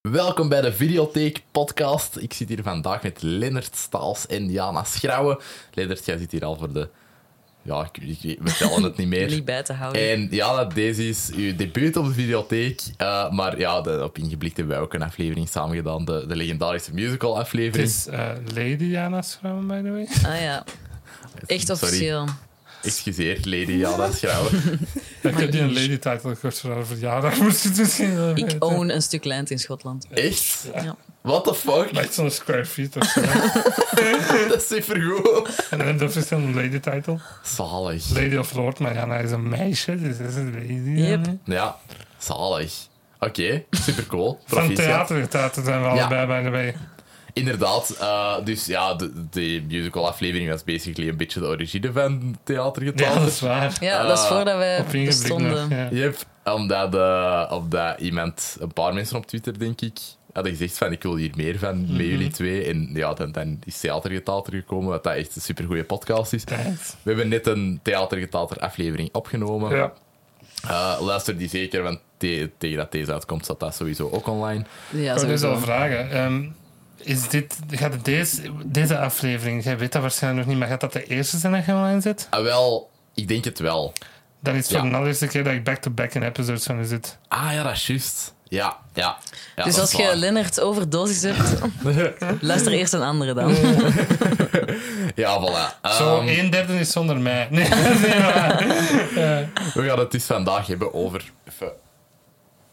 Welkom bij de Videotheek Podcast. Ik zit hier vandaag met Lennart Staals en Jana Schrouwen. Lennart, jij zit hier al voor de. Ja, ik, ik- ik- we tellen het niet meer. Niet bij te houden. En Jana, deze is uw debuut op de videotheek. eh, maar ja, de- op Ingeblikt hebben wij ook een aflevering samen gedaan. De, de legendarische Het musical-aflevering. is eh, Lady Jana's vrouw, by the way. Ah ja, echt Sorry. officieel. Excuseer, Lady Jana Schrouwen. ik heb die een lady title gehoord voor haar verjaardag. Moest dus het misschien wel Ik weten. own een stuk land in Schotland. Echt? Ja. What the fuck? Lijkt zo'n square feet of zo. Dat is supergoed. en dan dat is dan een lady title. Zalig. Lady of Lord, maar Jana is een meisje, dus dat is een lady. eh. Yep. Jana. Ja, zalig. Oké, supercool. Van Proficiat. theatergetuigen zijn we allebei by the way. Inderdaad, eh, dus ja, de, de musical-aflevering was basically een beetje de origine van Ja, theatergetal. dat is waar. Ja, Ah, dat is voordat Op wij ingeblikt nog. bestonden. Ja. Yep, omdat, eh, omdat iemand, een paar mensen op Twitter denk ik, hadden gezegd van ik wil hier meer van Mhm. met jullie twee. En ja, dan, dan is Theatergetater gekomen, wat dat echt een supergoeie podcast is. Tijd. We hebben net een Theatergetater aflevering opgenomen. Ja. Eh, luister die zeker, want te- tegen dat deze uitkomt staat dat sowieso ook online. Ja, Ik wou dus sowieso. al vragen. ehm, is dit, gaat deze, deze aflevering, jij weet dat waarschijnlijk nog niet, maar gaat dat de eerste zijn dat je online zit? Ah, wel, ik denk het wel. Dan is het Ja. voor de allereerste keer dat ik back-to-back in episodes van je zit. Ah ja, dat is juist. Ja, ja. ja Dus dat als is je waar. Lennart overdosis hebt, luister eerst een andere dan. Ja, voilà. Ehm, Zo, een derde is zonder mij. Nee, nee, maar- we gaan het dus vandaag hebben over... Even...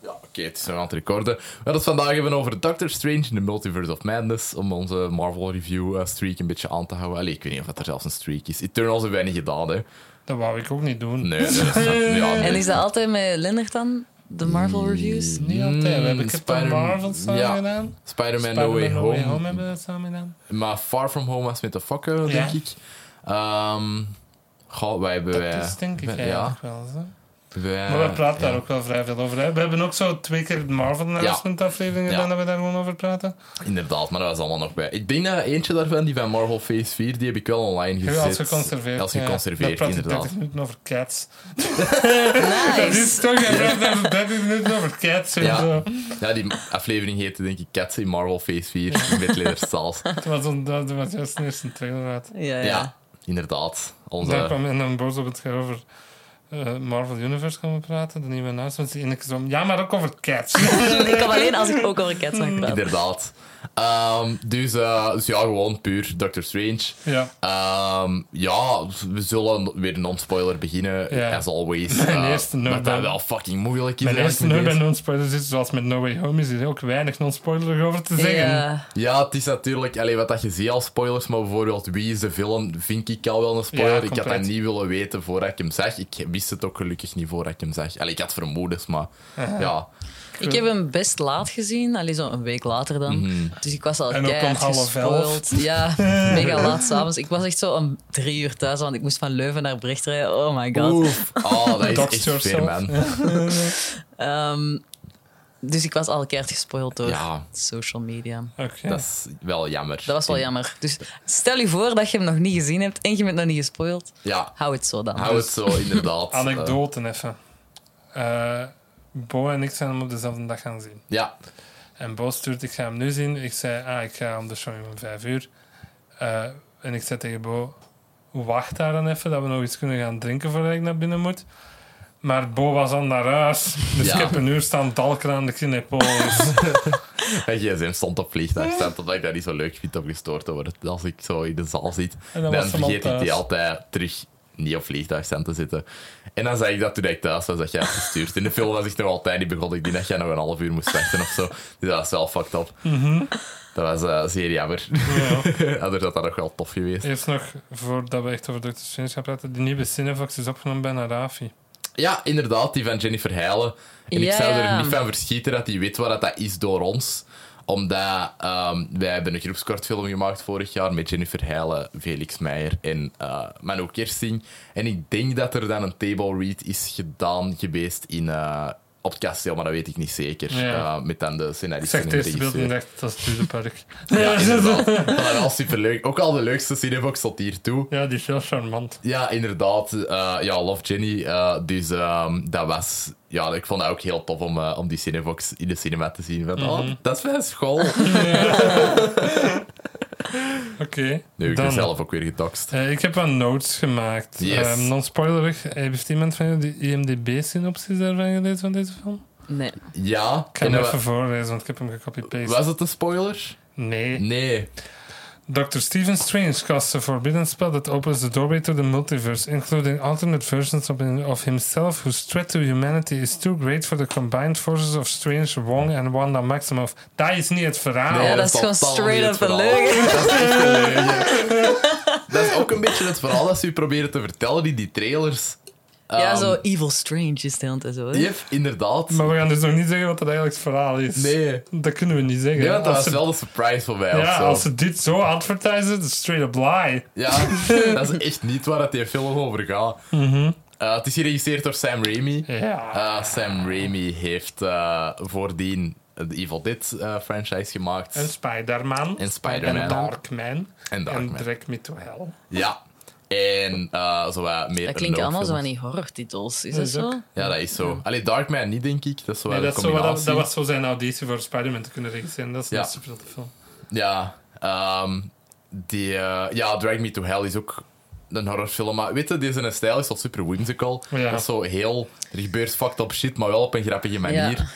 Ja, oké, het is nog aan het recorden. We gaan het vandaag hebben over Doctor Strange in the Multiverse of Madness, om onze Marvel Review eh, streak een beetje aan te houden. Allee, ik weet niet of dat er zelfs een streak is. Eternals hebben wij niet gedaan, hè. dat wou ik ook niet doen. Nee, dat is... Ja, nee. En is dat altijd met Lennart dan? De Hmm. Marvel reviews? Niet altijd. We hebben Mm, Captain Spider- Marvel samen ja. gedaan. Spider-Man Spider-Man No Way Home. hebben we dat samen gedaan. Maar Far From Home was met de fokken, denk ik. Ehm goh, wij hebben... Dat wij- is denk ik wij- eigenlijk wel zo. wij- Maar we praten ja. daar ook wel vrij veel over. hè. We hebben ook zo twee keer de Marvel announcement aflevering gedaan Ja. dat we daar gewoon over praten. Inderdaad, maar dat was allemaal nog bij. Ik denk dat eentje daarvan, die van Marvel Phase 4, die heb ik wel online Heb gezet. je als geconserveerd. Als ja. Dan geconserveerd, praat je inderdaad. 30 minuten over cats. Dat Nice! is toch, je praat over 30 minuten over cats en Ja. zo. Ja, die aflevering heette denk ik Cats in Marvel Phase 4 met Leonard Staals. Dat was, een, dat was juist een eerste trailer uit. Ja, Ja, ja. inderdaad. Daar Onze... kwam en dan boos op het gaan over eh, Marvel Universe gaan we praten, de nieuwe announcements. En ik zo, ja, maar ook over Cats. Ik kan alleen als ik ook over cats Hmm. mag praten. Inderdaad. Ehm, dus, eh, dus ja, gewoon puur Doctor Strange. ja. Ehm, ja, we zullen weer een non-spoiler beginnen, Ja. as always. Mijn Eh, eerste nerd Wat dat ben. wel fucking moeilijk is. Mijn eigenlijk eerste met nummer bij deze. non-spoilers is, zoals met No Way Home, is hier ook weinig non-spoiler over te zeggen. Ja, Ja, het is natuurlijk allee, wat dat je ziet als spoilers, maar bijvoorbeeld wie is de film, vind ik al wel een spoiler. Ja, ik had dat compleet. niet willen weten voordat ik hem zag. Ik wist het ook gelukkig niet voordat ik hem zag. Allee, ik had vermoedens, maar Eh. ja. ik heb hem best laat gezien, alleen zo'n week later dan. Mhm. Dus ik was al En ook om keihard half elf. gespoild. Ja, mega laat s'avonds. Ik was echt zo om drie uur thuis, want ik moest van Leuven naar Brecht rijden. Oh my god. Oef. Oh, dat is Dox echt yourself. fair, man. Ehm, dus ik was al keihard gespoild door Ja. social media. Oké. Dat is wel jammer. Dat was wel En- jammer. Dus stel je voor dat je hem nog niet gezien hebt en je bent nog niet gespoild. Ja, Hou het zo dan. hou Dus het zo, inderdaad. Anekdoten even. Eh, Bo en ik zijn hem op dezelfde dag gaan zien. Eh, ja, En Bo stuurt, ik ga hem nu zien. Ik zei, ah, ik ga om de show om vijf uur. Eh, en ik zei tegen Bo, wacht daar dan even, dat we nog iets kunnen gaan drinken voordat ik naar binnen moet. Maar Bo was al naar huis, dus Ja. ik heb een uur staan dalken aan de Dus Kinepolis. mijn gsm stond op vliegtuig. Stand totdat ik dat niet zo leuk vind om gestoord te worden. Als ik zo in de zaal zit, En dan, dan was hem al vergeet ik die thuis. altijd terug niet op vliegtuigstand te zitten. En dan zei ik dat toen ik thuis was, dat jij had gestuurd. In de film was ik nog altijd niet begonnen. Ik denk dat jij nog een half uur moest wachten of zo. Dus dat was wel fucked up. Mhm. Dat was eh, zeer jammer. Anders had dat nog wel tof geweest. Eerst nog, voordat we echt over Dr. Strange gaan praten, die nieuwe Cinevox is opgenomen bij Narafi. Ja, inderdaad, die van Jennifer Heijlen. En ik Ja, zou er ja. niet van verschieten dat hij weet wat dat is door ons. Omdat ehm, wij hebben een groepskortfilm gemaakt vorig jaar met Jennifer Heijlen, Felix Meijer en eh Manu Kersing. En ik denk dat er dan een table read is gedaan geweest in, eh, op het kasteel, maar dat weet ik niet zeker. Ja. Eh, met dan de Ik scenarist zag en het de eerste beeld en regisseur. dacht, dat is dus Dudepark. Ja, inderdaad. Dat was wel superleuk. Ook al de leukste Cinebox tot hier toe. Ja, die is heel charmant. Ja, inderdaad. Eh, ja, Love Jenny. eh, dus ehm, dat was... Ja, ik vond dat ook heel tof om, eh, om die Cinebox in de cinema te zien. Van, Mhm. oh, dat is mijn school. Oké. nu, ik dan. ben zelf ook weer gedokst. Eh, ik heb wat notes gemaakt. Yes. Ehm, Non-spoilerig. Heeft iemand van jullie die IMDb-synopsis daarvan gelezen van deze film? Nee. Ja. Ik ga hem en, eh, even voorlezen, want ik heb hem gecopy-paste. was het een spoiler? Nee. Nee. Dr. Stephen Strange casts a forbidden spell that opens the doorway to the multiverse, including alternate versions of, of himself whose threat to humanity is too great for the combined forces of Strange, Wong en Wanda Maximoff. Dat is niet het verhaal. Nee, ja, Oh, dat is is gewoon totaal straight niet up een het verhaal. leugen. Dat is echt een leugen. Dat is ook een beetje het verhaal dat ze u proberen te vertellen, die, die trailers. ja, Ehm, zo evil strange is het en zo. hè. Yep, inderdaad. Maar we gaan dus nog niet zeggen wat dat eigenlijk het verhaal is. Nee. Dat kunnen we niet zeggen. Nee, want dat Als was ze- wel de surprise voor mij. of ja, zo. als ze dit zo advertisen, dat is straight up lie. Ja, dat is echt niet waar dat die film over gaat. Eh, het is geregisseerd door Sam Raimi. Mhm. Ja. Eh, Sam Raimi heeft eh, voordien de Evil Dead eh, franchise gemaakt. En Spider-Man. En Spider-Man. En Darkman. En Darkman. En Drag Me to Hell. Ja. En eh zo wat meer Dat klinkt allemaal zo van niet. die horrortitels, is Dat dat is ook- zo? Ja, dat is zo. Allee, Darkman niet, denk ik. Dat is zo wel Nee, een dat, is zo wat- dat, combinatie. dat was zo zijn auditie voor Spider-Man te kunnen regisseren. Dat is Ja. een superveel film. Ja. ehm, die, eh, ja, Drag Me to Hell is ook een horrorfilm. Maar weet je, deze stijl is al super whimsical. Ja. Dat is zo heel... Er gebeurt fucked up shit, maar wel op een grappige manier. Ja.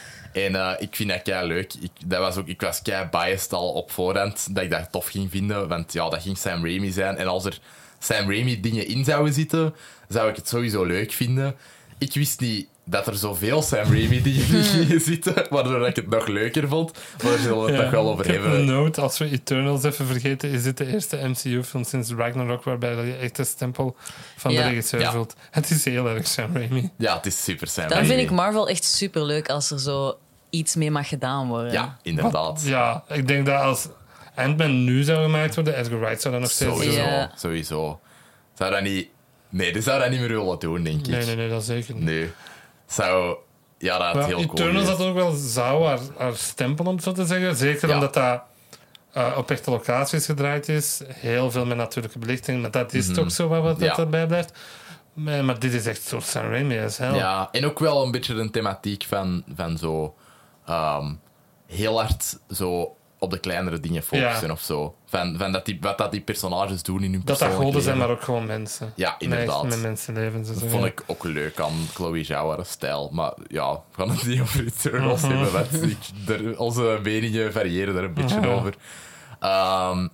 En eh, ik vind dat kei leuk. Ik, dat was ook, ik was kei biased al op voorhand dat ik dat tof ging vinden. Want ja, dat ging Sam Raimi zijn. En als er Sam Raimi dingen in zouden zitten, zou ik het sowieso leuk vinden. Ik wist niet dat er zoveel Sam Raimi dingen in gingen zitten, waardoor ik het nog leuker vond. Maar daar zullen we het Ja. nog wel over ik heb hebben. een note, als we Eternals even vergeten, is dit de eerste MCU-film sinds Ragnarok waarbij dat je echt de stempel van Ja. de regisseur Ja. voelt. Het is heel erg Sam Raimi. Ja, het is super Sam Dan Raimi. vind ik Marvel echt super leuk als er zo iets mee mag gedaan worden. Ja, inderdaad. Ja, ik denk dat als Ant-Man nu zou gemaakt worden, Edgar Wright zou dat nog steeds Sowieso. doen. Ja. Sowieso. Zou dat niet... Nee, dat zou dat niet meer willen doen, denk ik. Nee, nee, nee, dat zeker niet. Nee. Zou... Ja, dat had Maar heel cool Eternals geweest. had ook wel zou haar, haar stempel, om het zo te zeggen. Zeker Ja. omdat dat eh, op echte locaties gedraaid is. Heel veel met natuurlijke belichting. Maar dat is toch zo wat, wat Mhm. Ja. dat erbij blijft. Maar, maar dit is echt zo Sam Raimi as hell. Ja, en ook wel een beetje een thematiek van, van zo... ehm, heel hard zo op de kleinere dingen focussen Ja. of zo. Van, van dat die, wat dat die personages doen in hun Dat dat persoonlijke goden zijn, leven. maar ook gewoon mensen. Ja, inderdaad. Met, met mensenlevens. en zo, Vond ja. ik ook leuk aan Chloe Zhao haar stijl. Maar ja, we gaan het niet over Eternals hebben. want ik- er- onze meningen variëren daar een beetje Mhm. over. Ehm,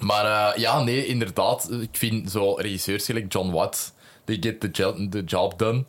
maar eh, ja, nee, inderdaad. Ik vind zo regisseurs gelijk John Watt, die get the, jo- the job done.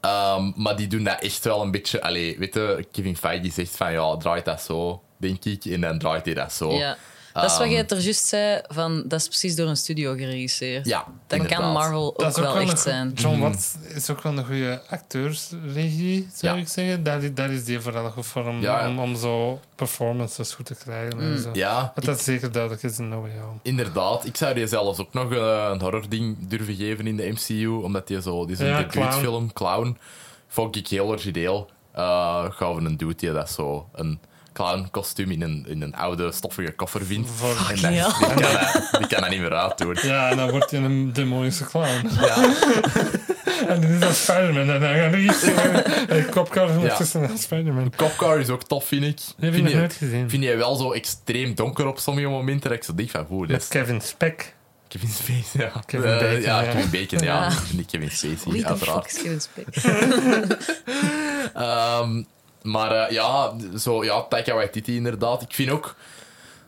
Ehm, maar die doen dat echt wel een beetje... Allee, weet je, Kevin Feige zegt van ja, draait dat zo, denk ik. En dan draait hij dat zo. Ja. Dat is wat Oh. Ehm, jij er juist zei, van, dat is precies door een studio geregisseerd. Ja, Dan inderdaad. kan Marvel ook, Dat is wel een echt goe- zijn. John Mhm. Watts is ook wel een goede acteursregie, zou Ja. ik zeggen. Daar, i- daar is die vooral goed voor om, Ja, ja. om, om zo performances goed te krijgen. en zo. Ja, Wat dat zeker duidelijk is in No Way Home. Inderdaad, ik zou die zelfs ook nog eh, een horror ding durven geven in de MCU, omdat die zo, die zo'n Ja, debuutfilm, Clown, vond ik heel origineel. Eh gaan we een dude die dat zo een clown kostuum in een, in een oude stoffige koffer vindt. Voor- en dat, Fucking die, kan dat, die kan dat niet meer uitdoen. Ja, en dan wordt hij een demonische clown. Ja, En dit is dan Spider-Man. En dan gaat hij iets zeggen. En kopkar Ja. ja. tussen aan Spider-Man. Copcar is ook tof, vind ik. heb ik vind nog je- nooit gezien. Vind je wel zo extreem donker op sommige momenten, dat ik zo denk van, hoe, dat Met is Kevin Speck. Kevin Spacey. Ja, Kevin Eh, Bacon, ja, ja. Kevin Bacon, ja. Ja. Niet Kevin Spacey, Wie de fuck uiteraard. is Kevin Spacey? Ehm, maar eh, ja, zo, ja, Taika Waititi inderdaad. Ik vind ook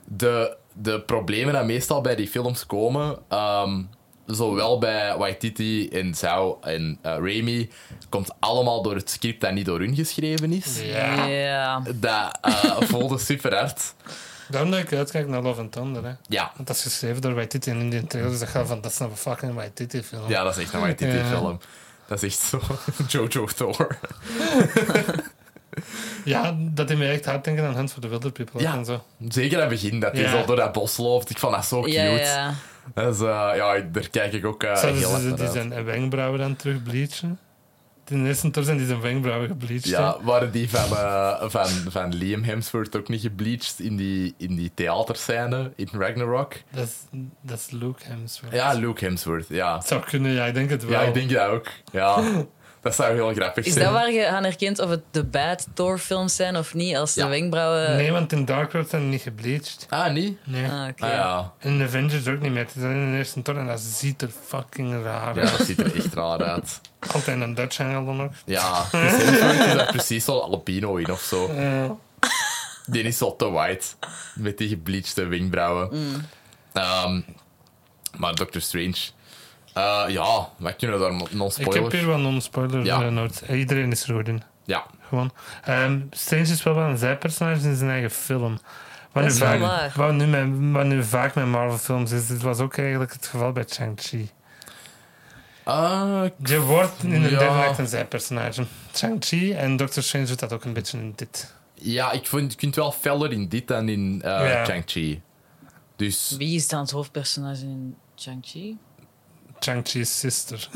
de, de problemen die meestal bij die films komen, ehm, zowel bij Waititi en Zhao en eh, Raimi, komt allemaal door het script dat niet door hun geschreven is. Ja. Ja. Dat eh voelde super hard. Daarom dat ik uitkijk naar Love and Thunder. Hè. Ja. Want dat is geschreven door Waititi en in die trailer. Dus dat gaat van, dat is een fucking Waititi film. ja, dat is echt een Waititi-film. Dat is echt zo Jojo Thor. Ja, dat deed me echt hard denken aan Hunt for the Wilder People. Ja. En zo. Zeker dat begin, dat hij Ja. zo door dat bos loopt. Ik vond dat zo cute. Ja, ja. Dat is, eh, ja, daar kijk ik ook eh, Zouden heel ze hard naar die uit. zijn wenkbrauwen dan terugbleachen? Ten eerste toen zijn die zijn wenkbrauwen gebleached. Ja, waren die van, eh, van, van Liam Hemsworth ook niet gebleached in die, in die theaterscène in Ragnarok? hè. Dat is, dat is Luke Hemsworth. Ja, Luke Hemsworth, ja. Het zou kunnen, ja, ik denk het wel. Ja, ik denk dat ook. Ja, dat zou heel grappig Is zijn. dat waar je aan herkent of het de bad Thor films zijn of niet? Als de Ja. wenkbrauwen... Nee, want in Dark World zijn die niet gebleached. Ah, niet? Nee. Ah, oké. Ah, ja. In Avengers ook niet meer. Het is alleen in de eerste Thor en dat ziet er fucking raar uit. ja, dat ziet er echt raar uit. Altijd een Dutch angle dan ook. Ja, Chris Hemsworth is daar precies zo'n albino in of zo. Eh, Die is zo te white, met die gebleachte wenkbrauwen. Mm. Ehm, maar Doctor Strange... Eh, ja, wij kunnen daar ik heb hier non-spoilers... wel non-spoiler Ja. ja. Eh, Iedereen is er goed in. Ja, Gewoon. Ehm, Strange is wel wel een zijpersonage in zijn eigen film. Wat nu, is wel vaak, waar. wat, nu met, wat nu vaak met Marvel-films is, dit was ook eigenlijk het geval bij Shang-Chi. Ah, Je wordt in de Ja. derde act een zijpersonage. Shang-Chi en Doctor Strange doet dat ook een beetje in dit. ja, ik vind je kunt wel feller in dit dan in eh Ja. Shang-Chi. Dus Wie is dan het hoofdpersonage in Shang-Chi? Shang-Chi's sister.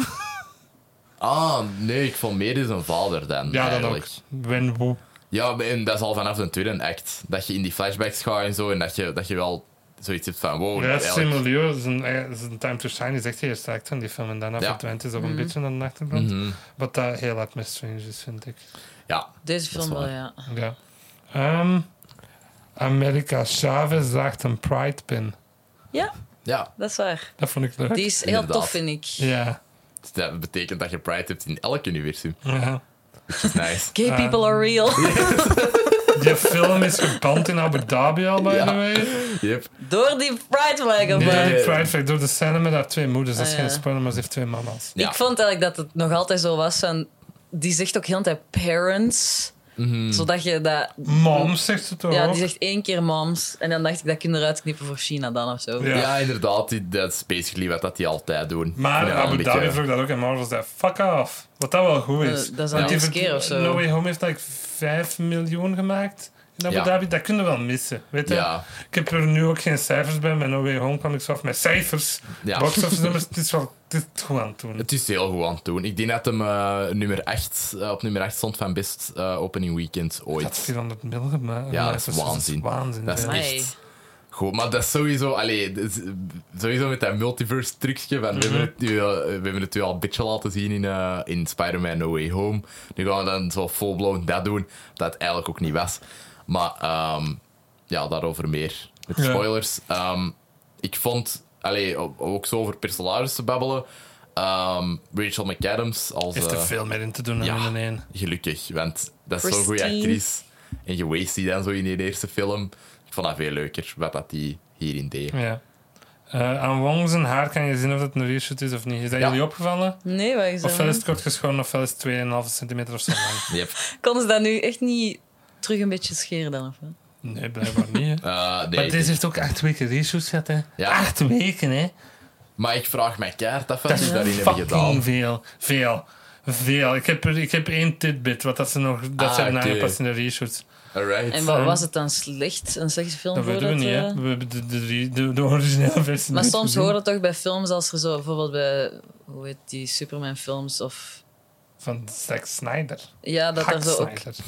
Ah, nee, ik vond meer is een vader dan. Ja, dan eigenlijk. ook. Wenwu. Ja, en dat is al vanaf de tweede act. Dat je in die flashbacks gaat en zo. En dat je, dat je wel zoiets hebt van: wow, Ja, eigenlijk- Simu Liu, zijn, eh, zijn Time to Shine is echt de eerste act van die film. En daarna Ja. Mhm. verdwijnt is ook Mhm. een beetje aan de achtergrond. Wat dat heel hard met Strange is, vind ik. Ja, Deze film waar. wel, ja. Ja. Ehm, America Chavez draagt een pride pin. Ja, ja. dat is waar. Dat vond ik leuk. Die is heel Inderdaad. tof, vind ik. Ja. Dus dat betekent dat je Pride hebt in elk universum. ja. Dat is nice. Gay people are real. Die film is geband in Abu Dhabi al, by Ja. the way. Yep. Door die pride flag op eh. Nee, haar. ja. die pride flag door de scène met haar twee moeders. Dat is Ah, geen ja. spoiler, maar ze heeft twee mama's. Ja. Ik vond eigenlijk dat het nog altijd zo was van... Die zegt ook heel de tijd parents. Mhm. Zodat je dat... Mom, zegt ze toch Ja, ook? die zegt één keer moms. En dan dacht ik, dat kun je eruit knippen voor China dan of zo. Ja. Ja. inderdaad. die- Dat is basically wat dat die altijd doen. Maar ja, een Abu beetje- Dhabi vroeg dat ook en Marvel zei: fuck off. Wat dat wel goed is. Eh, dat is al de Want die eerste verd- keer of zo. No Way Home heeft like 5 miljoen gemaakt in Abu Ja. Dhabi. Dat kunnen we wel missen. Weet je? Ja. Ik heb er nu ook geen cijfers bij. Met No Way Home kwam ik zo af met cijfers. Ja. Box office nummers. Het is wel dit gewoon aan het doen. Het is heel goed aan het doen. Ik denk dat hem eh, nummer 8, eh, op nummer 8 stond van best eh, opening weekend ooit. Dat 400 mil Ja, gemaakt. dat gemaakt, is dus waanzin. waanzin. Dat is ja. Amai. echt. Goed, maar dat is sowieso, allee, dat is, eh, sowieso met dat multiverse trucje. Van, we, hebben het, nu, eh, we hebben het u al een beetje laten zien in, eh, in Spider-Man No Way Home. Nu gaan we dan zo full-blown dat doen, dat het eigenlijk ook niet was. Maar ehm, ja, daarover meer. Met Ja. spoilers. Ehm, ik vond, allee, o- ook zo over personages te babbelen. ehm, Rachel McAdams als. Heeft er eh, veel meer in te doen dan ja. in de één. Gelukkig, want dat is zo'n goede Christine. actrice. En je waste die dan zo in die eerste film. Ik vond dat veel leuker, wat dat die hierin deed. Ja. Eh, aan Wong zijn haar kan je zien of dat een reshoot is of niet. Is dat Ja. jullie opgevallen? Nee, waar is Ofwel is dat? het kort geschoren, ofwel is het 2,5 centimeter of zo lang. Yep. Konden ze dat nu echt niet terug een beetje scheren dan? Of? wat? Nee, blijkbaar niet. hè. Eh, nee, maar deze heeft ook acht weken reshoots gehad, hè? Ja. Acht weken, hè? maar ik vraag mij keihard af wat Dat ze is daarin hebben fucking gedaan. veel. Veel. Veel. Ik heb, er- ik heb één tidbit wat dat ze nog dat Ah, ze hebben oké. aangepast in de reshoots. Alright. En Ehm, wat was het dan slecht? Een slechte film Dat voor weten we niet, hè? eh, We hebben de, de, re- de, de originele versie Maar niet soms gezien. hoor dat toch bij films als er zo bijvoorbeeld bij hoe heet die Superman films of Van Zack Snyder. ja dat er Zack zo ook Snyder.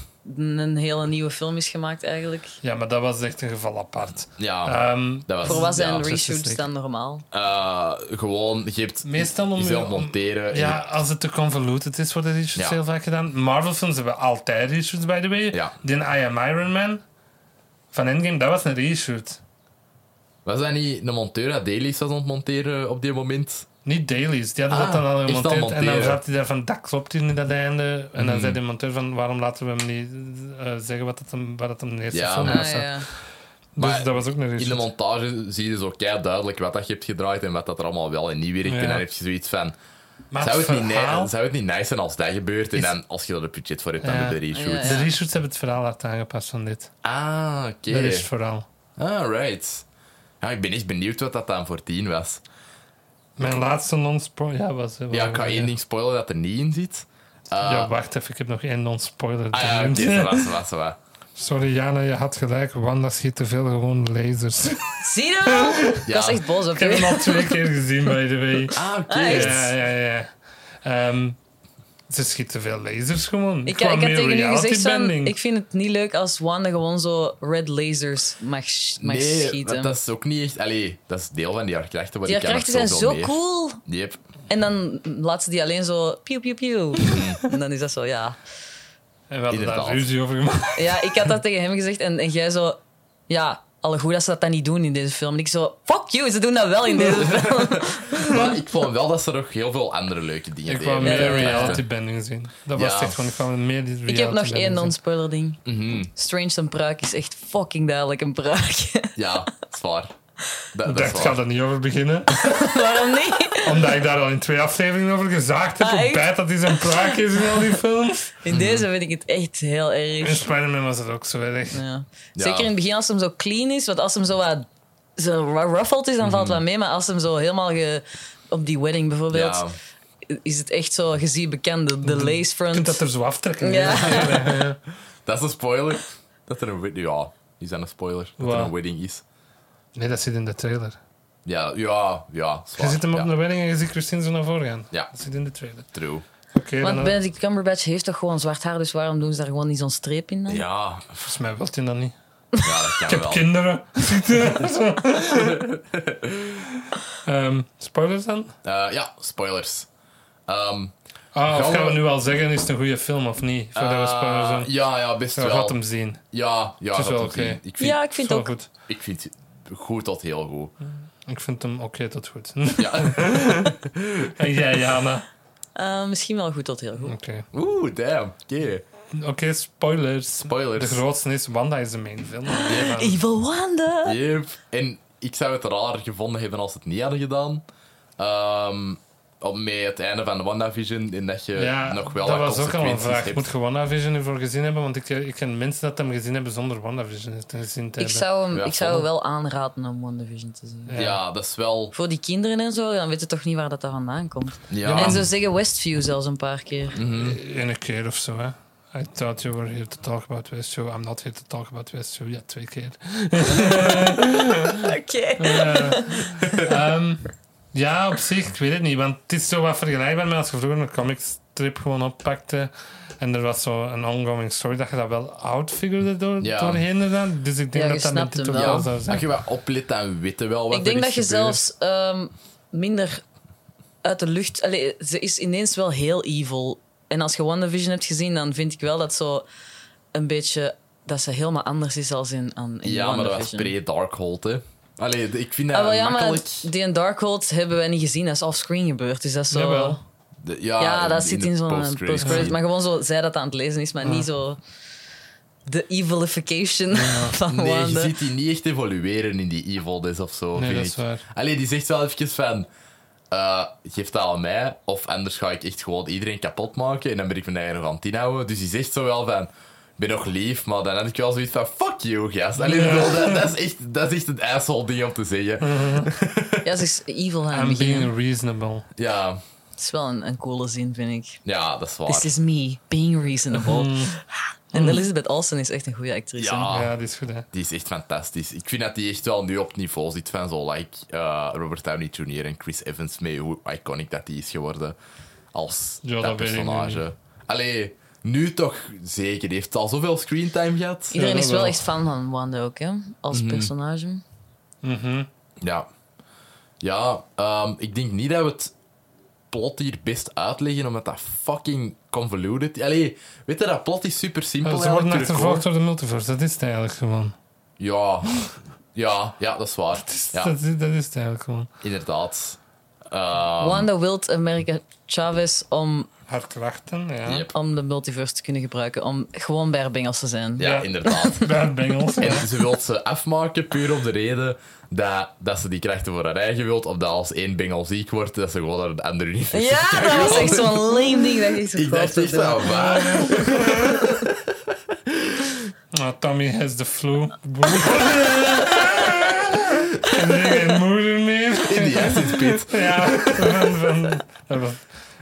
een hele nieuwe film is gemaakt eigenlijk. Ja, maar dat was echt een geval apart. ja, Ehm, Ah, dat was... Voor wat ja, zijn Justice reshoots League. dan normaal? eh, gewoon, je hebt... Meestal om je je- zelf om- monteren. ja, als het te convoluted is, worden reshoots Eh, Ja. heel vaak gedaan. Marvel-films hebben altijd reshoots, by the way. Ja. Die I Am Iron Man van Endgame, dat was een reshoot. Was dat niet een monteur dat dailies was aan het monteren op die moment? Niet dailies, die hadden Ah, dat dan al is dat gemonteerd. En dan monteren. Mhm. zat hij daar van, dat klopt hier niet dat einde. En dan zei de monteur van, waarom laten we hem niet eh, zeggen wat dat hem, wat dat hem de eerste Ja, film maar- Ah, was. ja. Dus Maar dat was ook een In de reshoot. montage zie je zo kei duidelijk wat dat je hebt gedraaid en wat dat er allemaal wel en niet werkt. Ja. En dan heb je zoiets van... Maar Zou het het, niet ni- verhaal... zou het niet nice zijn als dat gebeurt en Is- dan als je er het budget voor hebt, dan Ja. doe je de reshoot? Ja, ja. De reshoots hebben het verhaal hard aangepast van dit. Ah, oké. Dat is het verhaal. Alright. Ja, ik ben echt benieuwd wat dat dan voor tien was. Mijn laatste non-spoiler... Oh, Ja, was... was- Ja, ik ga één ding spoilen dat er niet in zit. Eh, Ja, wacht even, ik heb nog één non-spoiler. ah, ja, oké, zo was, zo was, zo was. Sorry Jana, je had gelijk. Wanda schiet te veel gewoon lasers. Zie je wel? Ja. Dat is echt boos op ik heb hem je. Ah, al twee keer gezien, by the way. Ah, oké. Ah, echt? Ja, ja, ja. Ehm, Ze schiet te veel lasers gewoon. Ik, ik Gewoon had meer tegen u reality gezegd, van, bending. ik vind het niet leuk als Wanda gewoon zo red lasers mag, sch- mag nee, schieten. dat- dat is ook niet echt... Allee, dat is deel van die hartkrachten. maar die die krachten kan zijn nog zo zoveel meer. cool. Yep. En dan laat ze die alleen zo piu piu piu. Mm. en dan is dat zo, ja. En we hadden daar Inderdaad. ruzie over gemaakt. Ja, ik had dat tegen hem gezegd en, en jij zo, ja, alle goed dat ze dat dan niet doen in deze film. En ik zo, fuck you, ze doen dat wel in deze film. Maar ik vond wel dat ze nog heel veel andere leuke dingen Ik deden. kwam met meer die krachten. reality bending zien. Dat Ja. was het echt gewoon, ik kwam meer die reality ik heb nog één bending zien. non-spoiler ding. Mhm. Strange zijn pruik is echt fucking duidelijk een pruik. Ja, dat is waar. Dat, dat is Ik waar. ga er niet over beginnen. Waarom niet? Omdat ik daar al in twee afleveringen over gezaagd heb. Ah, hoe echt? bijt dat hij zijn plaak is in al die films. Mhm. In deze vind ik het echt heel In erg. Spider-Man was dat ook zo erg. Ja. Zeker in het begin als hem zo clean is, want als hem zo wat zo wat ruffled is, dan valt Mhm. het wel mee. Maar als hem zo helemaal ge, op die wedding bijvoorbeeld, Ja. Mhm. is het echt zo gezien bekend, de, de lace Je kunt front. dat er zo aftrekken. Ja. Dat is een spoiler. Dat er een wedding... Ja, is dat een spoiler? Dat er Wat? een wedding is. Nee, dat zit in de trailer. Ja, ja, ja. is Je waar. zit hem op ja. de wedding en je ziet Christine zo naar voren gaan. Ja. Dat zit in de trailer. True. Oké, dan Want Benedict Cumberbatch heeft toch gewoon zwart haar, dus waarom doen ze daar gewoon niet zo'n streep in dan? Ja, volgens mij wilt hij dat niet. ja dat kan Ik heb wel. kinderen. Zo. Ehm, spoilers dan? Eh, ja, spoilers. Ehm, Ah, of Gaan gaan we we- nu al zeggen, is het een goede film of niet? Voordat we spoilers eh, doen. ja, ja, best We wel. gaan hem zien. Ja, ja, Het is gaat wel hem zien. oké. Ik vind, Ja, ik vind Zo ook. goed. ik vind het goed tot heel goed. Ik vind hem oké tot goed. Ja. en jij, Jana? eh, misschien wel goed tot heel goed. Oké. Oeh, damn. Oké. Oké, spoilers. Spoilers. De grootste is Wanda is de main film. Ja, Evil Wanda! Yep. En ik zou het raar gevonden hebben als ze het niet hadden gedaan. Ehm op met het einde van WandaVision. En dat je nog wel dat wat was ook al een consequenties vraag. hebt. Moet je WandaVision ervoor gezien hebben? Want ik, ik ken mensen dat hem gezien hebben zonder WandaVision te gezien te Ik hebben. zou hem Ja, ik zou Wanda. wel aanraden om WandaVision te zien. ja. dat is wel... Voor die kinderen en zo, dan weet je toch niet waar dat daar vandaan komt. Ja, En ze zeggen Westview zelfs een paar keer. Mhm. Eén Eh, keer of zo, hè. I thought you were here to talk about Westview. I'm not here to talk about Westview. Ja, twee keer. Oké. Eh, ehm, ja, op zich, ik weet het niet. Want het is zo wat vergelijkbaar met als je vroeger een comicstrip gewoon oppakte. En er was zo een ongoing story dat je dat wel outfigurde door, Ja. doorheen. Dan. Dus ik denk Ja, je dat dat snapt met dit hem ook wel. wel zou zijn. als je wat oplet, dan weten wel wat Ik denk er dat is je gebeurd. zelfs ehm, minder uit de lucht. Allee, ze is ineens wel heel evil. En als je WandaVision hebt gezien, dan vind ik wel dat zo een beetje. dat ze helemaal anders is als in, aan, in Ja, maar dat was WandaVision. pre-Darkhold, hè. Allee, ik vind dat Ah, wel, ja, maar makkelijk... het- die en Darkhold hebben wij niet gezien. Dat is offscreen gebeurd. Dus dat is zo... Jawel. De- ja, ja, dat zit Ah, de in zo'n post-credits. post Maar gewoon zo, zij dat aan het lezen is, maar niet zo... De evilification van Nee, je Wanda. ziet die niet echt evolueren in die evilness of zo. Nee, vind dat is ik. waar. Allee, die zegt wel even van... eh, geef dat aan mij, of anders ga ik echt gewoon iedereen kapot maken en dan ben ik mijn eigen nog aan het inhouden. Dus die zegt zo wel van... Ik ben nog lief, maar dan had ik wel zoiets van... Fuck you, gast. Allee, ik bedoel, dat, dat is echt, dat is echt een asshole ding om te zeggen. Ja, ze is evil aan het I'm begin. being reasonable. Ja, Het is wel een, een coole zin, vind ik. ja dat is waar. This is me, being reasonable. Ah, En Elizabeth Olsen is echt een goede actrice. Mhm. Ja. Ah. Ja, dat is goed, hè. Die is echt fantastisch. Ik vind dat die echt wel nu op het niveau zit van zo like eh, Robert Downey Jr. en Chris Evans mee. Hoe iconic dat die is geworden als Ja, dat, dat weet ik nu personage. Allee, nu toch zeker. Die heeft al zoveel screentime gehad. Iedereen Ja, is dat wel wel. echt fan van Wanda ook, hè? Als personage. Mhm. Ja. Ja, ehm, ik denk niet dat we het plot hier best uitleggen, omdat dat fucking convoluted... Allee, weet je, dat plot is super simpel. Ze worden eigenlijk, achtervolgd door de multiverse. Dat is het eigenlijk gewoon. Ja. Ja, ja, dat is waar. Ja, Dat, is, dat is het eigenlijk gewoon. inderdaad. Ehm, Wanda wilt America Chavez om, Hard krachten, ja. Yep. om de multiverse te kunnen gebruiken. Om gewoon bij haar bengels te zijn. ja, Ja. inderdaad. Bad Bengals. En ze wil ze afmaken puur om de reden dat, dat ze die krachten voor haar eigen wilt. Of dat als één bengel ziek wordt, dat ze gewoon naar een andere universum Ja, dat was echt zo'n lame ding. Dat ik echt zo Ik dacht god, echt van, waar? Ah, Tommy has the flu. Boe. en er is geen moeder meer. In die actiespit. Ja, van, van, van-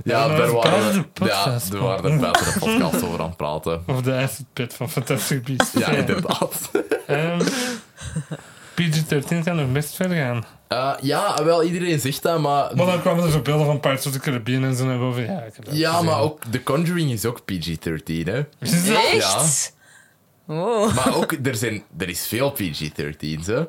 Ja, Ja, daar dat waren was we, de podcast, ja, daar waren we een betere podcast over aan het praten. Ehm, of de acid pit van Fantastic Beasts. Ja, inderdaad. Ehm, PG-13 kan nog best ver gaan. Eh, ja, wel, iedereen zegt dat, maar... Maar dan kwamen er zo beelden van Pirates of the Caribbean en zo naar boven. Ja, ik heb dat Ja, gezien. maar ook The Conjuring is ook PG-13, hè. Is dat? Echt? Wow. Maar ook, er, zijn, er is veel PG-13's, hè.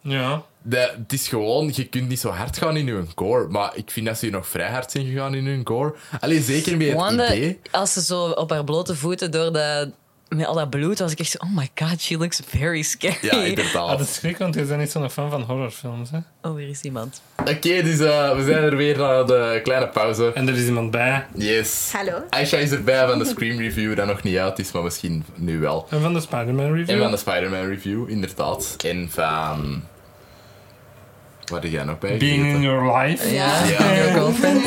Ja. De, het is gewoon, je kunt niet zo hard gaan in hun core. Maar ik vind dat ze hier nog vrij hard zijn gegaan in hun core. Alleen zeker met het Wanda, idee. als ze zo op haar blote voeten door dat, met al dat bloed, was ik echt zo, oh my god, she looks very scary. Ja, Ah, inderdaad. dat is schrik, want je bent niet zo'n fan van horrorfilms. Hè? Oh, hier is iemand. Oké, dus eh, we zijn er weer na de kleine pauze. En er is iemand bij. Yes. Hallo. Aisha is erbij van de Scream Review, dat nog niet uit is, maar misschien nu wel. En van de Spider-Man En review. van de Spider-Man Review, inderdaad. En van... Wat heb jij nog bij? Being in gezeten? your life. Ja, Ja. your girlfriend.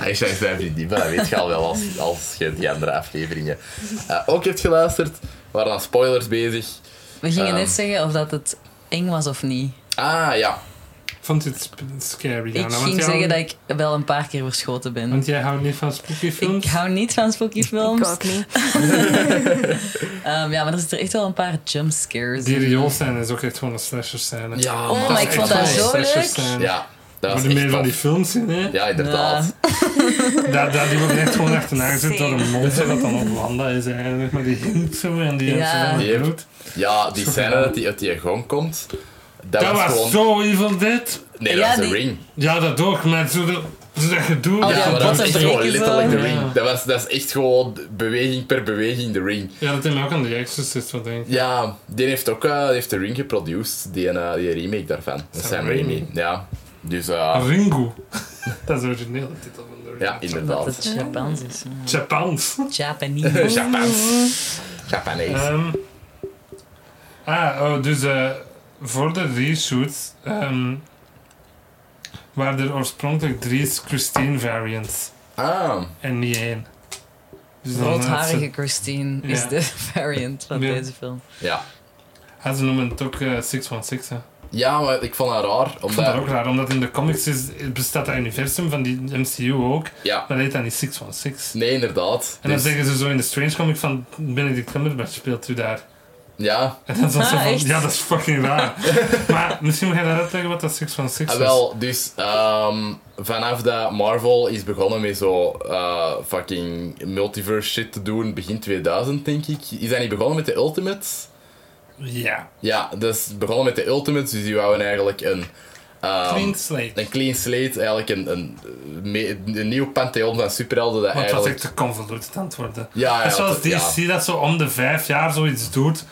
Aisha is mijn vriendin, maar dat weet je al wel als, als je die andere afleveringen eh, ook hebt geluisterd. We waren aan spoilers bezig. We gingen Ehm. net zeggen of dat het eng was of niet. Ah, ja. Vond je het sp- scary? Ik Jana? nou, Want ging jij- zeggen dat ik wel een paar keer verschoten ben. Want jij houdt niet van spooky films? Ik hou niet van spooky Ik films. ook niet. Ehm, ja, maar er zitten echt wel een paar jumpscares Die in. rioolscène is ook echt gewoon een slasher scène. Ja, Oh, dat maar is ik echt vond dat wel- zo leuk. Ja, dat Maar was de meer echt tof. van die films zien, hè? Ja, inderdaad. Dat, dat die wordt echt gewoon achterna gezet door een Same. monster dat dan op Wanda is eigenlijk. Maar die hield zo en die heeft Ja. zo van het Yep. bloed. Ja, die scène dat die uit die gong komt, dat, Dat was was gewoon... zo Evil Dead. Nee, dat Ja, was de die- ring. Ja, dat ook, maar zo dat, zo dat gedoe. Oh, dat Ja, die maar dat was botten echt gewoon breken zo. letterlijk de Ja. ring. Dat, was, dat is echt gewoon beweging per beweging de ring. Ja, dat deed mij ook aan The Exorcist wat denk ik. Ja, die heeft ook eh, die heeft de ring geproduced, die, eh, die remake daarvan. Dat Sam Sam Raimi. Raimi. Ja, dus eh Ringu. dat is de originele titel van de ring. ja, Dat inderdaad. het Japans is. Japans. Japanese. Japans. Japanees. Ehm, ah, oh, dus eh, voor de reshoot ehm, waren er oorspronkelijk drie Christine variants Ah, en niet één. Dus dan had Roodharige ze, Christine Ja. is de variant van Ja. deze film. ja. had ze noemen het ook eh, 616. Hè. Ja, maar ik vond dat raar, Ik vond dat omdat... ook raar, omdat in de comics is, bestaat dat universum van die MCU ook, Ja, maar dat heet dan niet 616. nee, inderdaad. En dan Dus- zeggen ze zo in de Strange comic van Benedict Cumberbatch speelt u daar. Ja, En dan is dat zo Ah, van, echt? ja dat is fucking raar. maar misschien moet jij dat uitleggen wat dat 616 Ah, is. wel, dus ehm, vanaf dat Marvel is begonnen met zo eh, fucking multiverse shit te doen, begin 2000 denk ik, is dat niet begonnen met de Ultimates? Ja. Ja, dus begonnen met de Ultimates, dus die wouden eigenlijk een... ehm, Clean slate. Een clean slate, eigenlijk een, een, me- een nieuw pantheon van superhelden dat Want het was eigenlijk... echt te convoluted aan het worden. Ja, ja, Dat is zoals dat- ja. DC dat zo om de vijf jaar zoiets doet.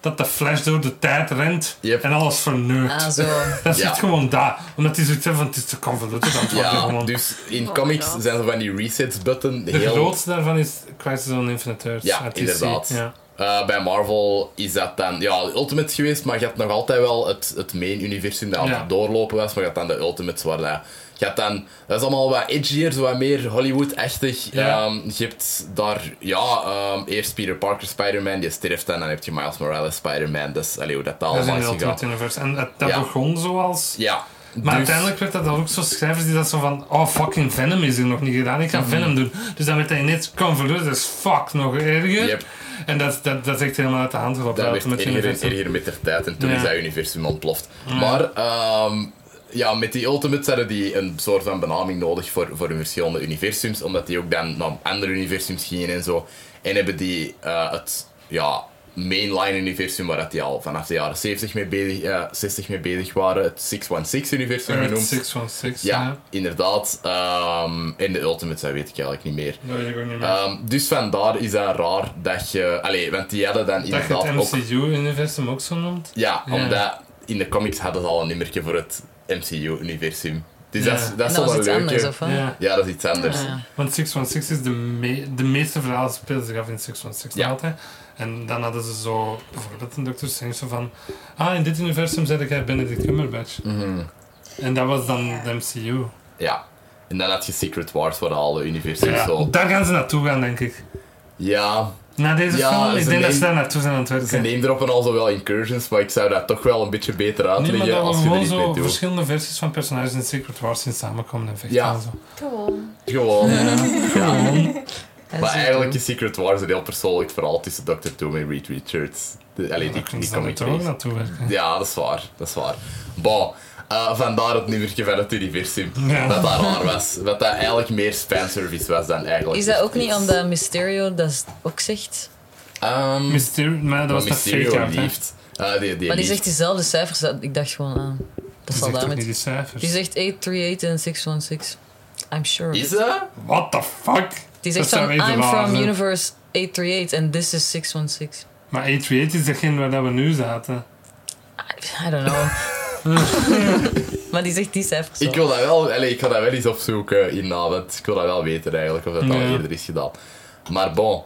Dat de Flash door de tijd rent Yep. en alles verneukt. Ah, zo. dat is Ja. echt gewoon daar. Omdat die zoiets hebben van het is te convoluted aan het worden. Ja, gewoon. dus in Oh, comics inderdaad. zijn er van die resets-button de heel... grootste daarvan is Crisis on Infinite Earths. Ja, uit DC. inderdaad. Ja. Eh, bij Marvel is dat dan ja, de Ultimates geweest, maar je had nog altijd wel het, het main-universum dat aan Ja. het doorlopen was, maar je had dan de Ultimates waar dat... Je had dan... Dat is allemaal wat edgier, zo wat meer Hollywood-achtig. Ja. Ehm, je hebt daar... Ja, ehm, eerst Peter Parker Spider-Man, die sterft dan, dan heb je Miles Morales Spider-Man, dus allee, hoe dat Dat is allemaal in is de gegaan. Ultimate Universe. En dat, dat Ja. begon zoals... Ja. Maar dus- uiteindelijk werd dat dan ook zo schrijvers die dat zo van... Oh, fucking Venom is hier nog niet gedaan. Ik ga Mhm. Venom doen. Dus dan werd hij net convoluted as fuck nog erger. Yep. En dat, dat, dat is echt helemaal uit de hand gelopen. Dat dat werd Ultimate erger en Universe. erger met de tijd en toen Ja. is dat universum ontploft. Maar ehm, ja, met die Ultimates hadden die een soort van benaming nodig voor, voor hun verschillende universums, omdat die ook dan naar andere universums gingen en zo. En hebben die eh, het ja, mainline-universum, waar dat die al vanaf de jaren 70 mee bezig, eh, 60 mee bezig waren, het 616-universum Earth genoemd. 616. Ja, Ja. inderdaad. Ehm, en de Ultimates, dat weet ik eigenlijk niet meer. Dat weet ik ook niet meer. Ehm, dus vandaar is dat raar dat je... Allee, want die hadden dan dat je inderdaad het ook... MCU-universum ook zo noemt. Ja, Ja. omdat in de comics hadden ze al een nummertje voor het MCU-universum. Dus Ja. dat is, dat En is dat wel was een iets leuke... anders, of wat? Ja. Ja, dat is iets anders. Ja. Want 616 is de, me- de meeste verhalen spelen zich af in 616 Ja. altijd. En dan hadden ze zo bijvoorbeeld een Dr. Strange zo van... Ah, in dit universum zet jij Benedict Cumberbatch. Mhm. En dat was dan de MCU. Ja. En dan had je Secret Wars voor alle universums Ja, zo. daar gaan ze naartoe gaan, denk ik. Ja, Na deze Ja, film, ze ik denk dat ze nemen- daar naartoe zijn aan het ze werken. nemen er op en al zo wel incursions, maar ik zou dat toch wel een beetje beter Nee, maar uitleggen dat als je er er gewoon iets mee zo doet. verschillende versies van personages in Secret Wars in samenkomen en vechten Ja. en zo. Gewoon. Gewoon. Ja. Gewoon. maar As you eigenlijk do. is Secret Wars een heel persoonlijk verhaal tussen Dr. Doom en Reed Richards. De, allee, die, die, Kunnen ze daar comic toch ook base. naartoe werken? Ja, dat is waar. Dat is waar. Bon, eh, vandaar het nummertje van het universum. Ja. Dat daar raar was. Dat dat eigenlijk meer fanservice was dan eigenlijk. Is dat echt ook niet iets. omdat Mysterio dat ook zegt? Ehm, Mysterio, maar dat was met Mysterio fake out, hè? lieft. Eh, die, die Maar die lieft. zegt diezelfde cijfers. dat- Ik dacht gewoon aan. Dat Die zal zegt toch niet die daarmee. cijfers? Die zegt 838 en 616. I'm sure. of Is it. dat? What the fuck? Die Dat zegt zou van, weten I'm waar, from hè. universe 838 and this is 616. Maar A38 is degene waar dat we nu zaten. I, I don't know. maar die zegt die cijfers Ik wel. wil dat wel, allee, ik ga dat wel eens opzoeken in want ik wil dat wel weten eigenlijk, of dat al Ja. eerder is gedaan. Maar bon,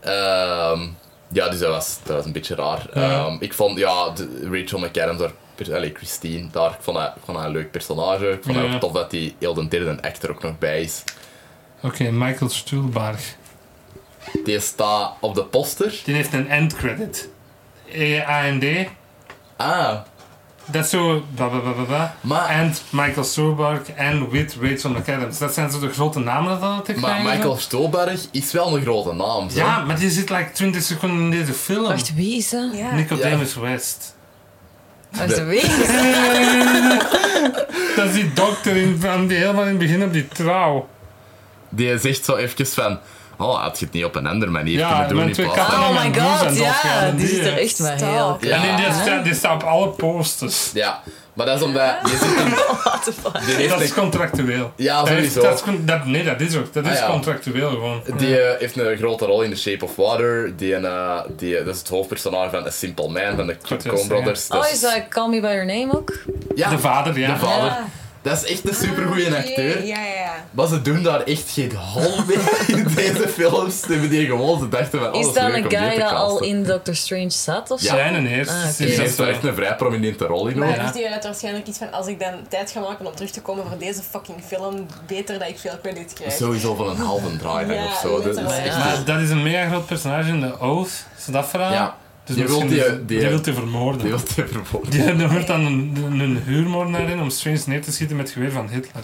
ehm, ja, dus dat was, dat was een beetje raar. Ja. Ehm, ik vond, ja, de- Rachel McAdams, daar, per- allee, Christine, daar, ik vond, haar, ik vond haar een leuk personage. Ik vond het Ja. ook tof dat die heel de derde act er ook nog bij is. Oké, Michael Stuhlbarg. Die staat op de poster. Die heeft een E endcredit. E-A-N-D. Ah, Dat is zo... Ba, ba, ba, ba, ba. Maar- And Michael Stuhlbarg en with Rachel McAdams. Dat zijn zo de grote namen dat dat heeft maar gekregen. Michael Stolberg is wel een grote naam, zo. Ja, maar die zit like 20 seconden in deze film. Wacht, wie is dat? Ja. Nicodemus West. Wacht, wie is dat? Dat is die dokter in, van die helemaal in het begin op die trouw. Die zegt zo even van, oh, had je het niet op een andere manier Ja, kunnen doen mijn in twee plaats van- Oh my god, ja. Ja, Die zit er echt maar heel... Stop. Ja. En in die, staat, die staat op alle posters. Ja, maar dat is omdat... Je zit in, What the fuck? die heeft Dat is een- contractueel. Ja, Dat heeft- sowieso. dat is con- dat, nee, dat is ook. Dat Ah, is ja. contractueel gewoon. die eh, heeft een grote rol in The Shape of Water. Die, een, eh, die, eh, dat is het hoofdpersonage van A Simple Man, van de Goed, ja, Coen Brothers. Oh, Dat is dat Call Me By Your Name ook? Ja, De vader, ja. de vader. Ja. Dat is Ah, echt een supergoeie acteur. Ja, ja, ja. Maar ze doen daar echt geen hol mee in deze films. Ze hebben die gewoon, ze dachten van, oh, Is dat dat leuk een om die guy te dat al casten. in Doctor Strange zat of zo? Zijn en eerst. Ah, oké. is Die dat heeft zo. daar echt een vrij prominente rol in. Maar ook. Ja. heeft hij uit waarschijnlijk iets van als ik dan tijd ga maken om terug te komen voor deze fucking film, beter dat ik veel credit krijg. Sowieso van een halve draai Ja, of zo. Dat is letterlijk. echt... Maar dat is een mega groot personage in de Oath. Is dat verhaal? Ja. Dus Je misschien wilt die- is- die- die wilt hij vermoorden. Die wordt te vervolgd. Die die wordt dan een, een, een huurmoordenaar in om Strange neer te schieten met het geweer van Hitler.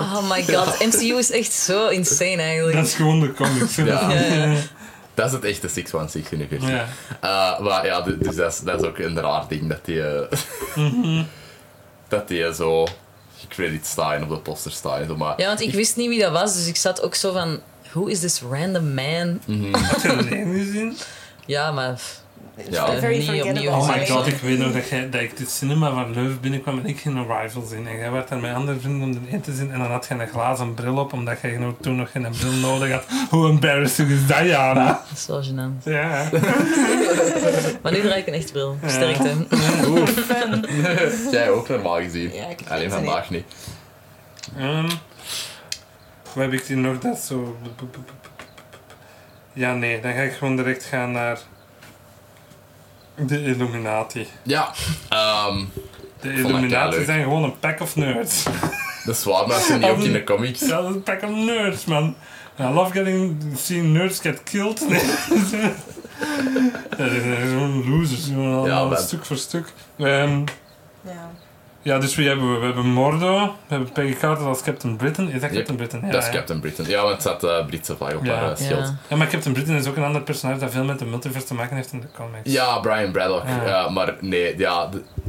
Oh my god, MCU is echt zo insane eigenlijk. Dat is gewoon de comics. hè. Ja. Ja, ja. Dat is het echte 616-universum. Ja. Eh, maar ja, du- dus dat is, dat is ook een raar ding dat die, eh, dat die eh, zo gecredit staan en op de poster staan. en zo, Maar Ja, want ik wist niet wie dat was, dus ik zat ook zo van... Who is this random man? Heb je dat alleen gezien? Ja, maar... pff, Ja. Very Niet opnieuw. forgettable. Oh Sorry. my god, ik weet nog dat, jij, dat ik dit cinema van Leuven binnenkwam en ik ging Arrival zien. En jij werd daar met andere vrienden om erin te zien en dan had je een glazen bril op omdat jij nog- toen nog geen bril nodig had. Hoe embarrassing is dat, Jana? dat is wel gênant. Ja. Maar nu draai ik een echt bril. Sterkte. Oef. Jij ook normaal gezien. Ja, ik heb Alleen geen vandaag niet. Ehm, wat heb ik hier nog dat zo... Ja, nee, dan ga ik gewoon direct gaan naar... De Illuminati. Ja, ehm, De dat Illuminati keileuk. zijn gewoon een pack of nerds. dat is waar, maar ze zijn niet ook in de comics. Ja, dat is een pack of nerds, man. I love getting seeing nerds get killed. Nee. dat zijn gewoon losers, gewoon allemaal man. stuk voor stuk. Ehm, Ja. ja, dus wie hebben we? We hebben Mordo, we hebben Peggy Carter als Captain Britain. Is dat Yep, Captain Britain? Ja, dat is ja. Captain Britain. Ja, want het zat eh, Britse vlag op Ja. haar eh, schild. Ja. Ja, maar Captain Britain is ook een ander personage dat veel met de multiverse te maken heeft in de comics. Ja, Brian Braddock. Ja. ja, maar nee, ja, d-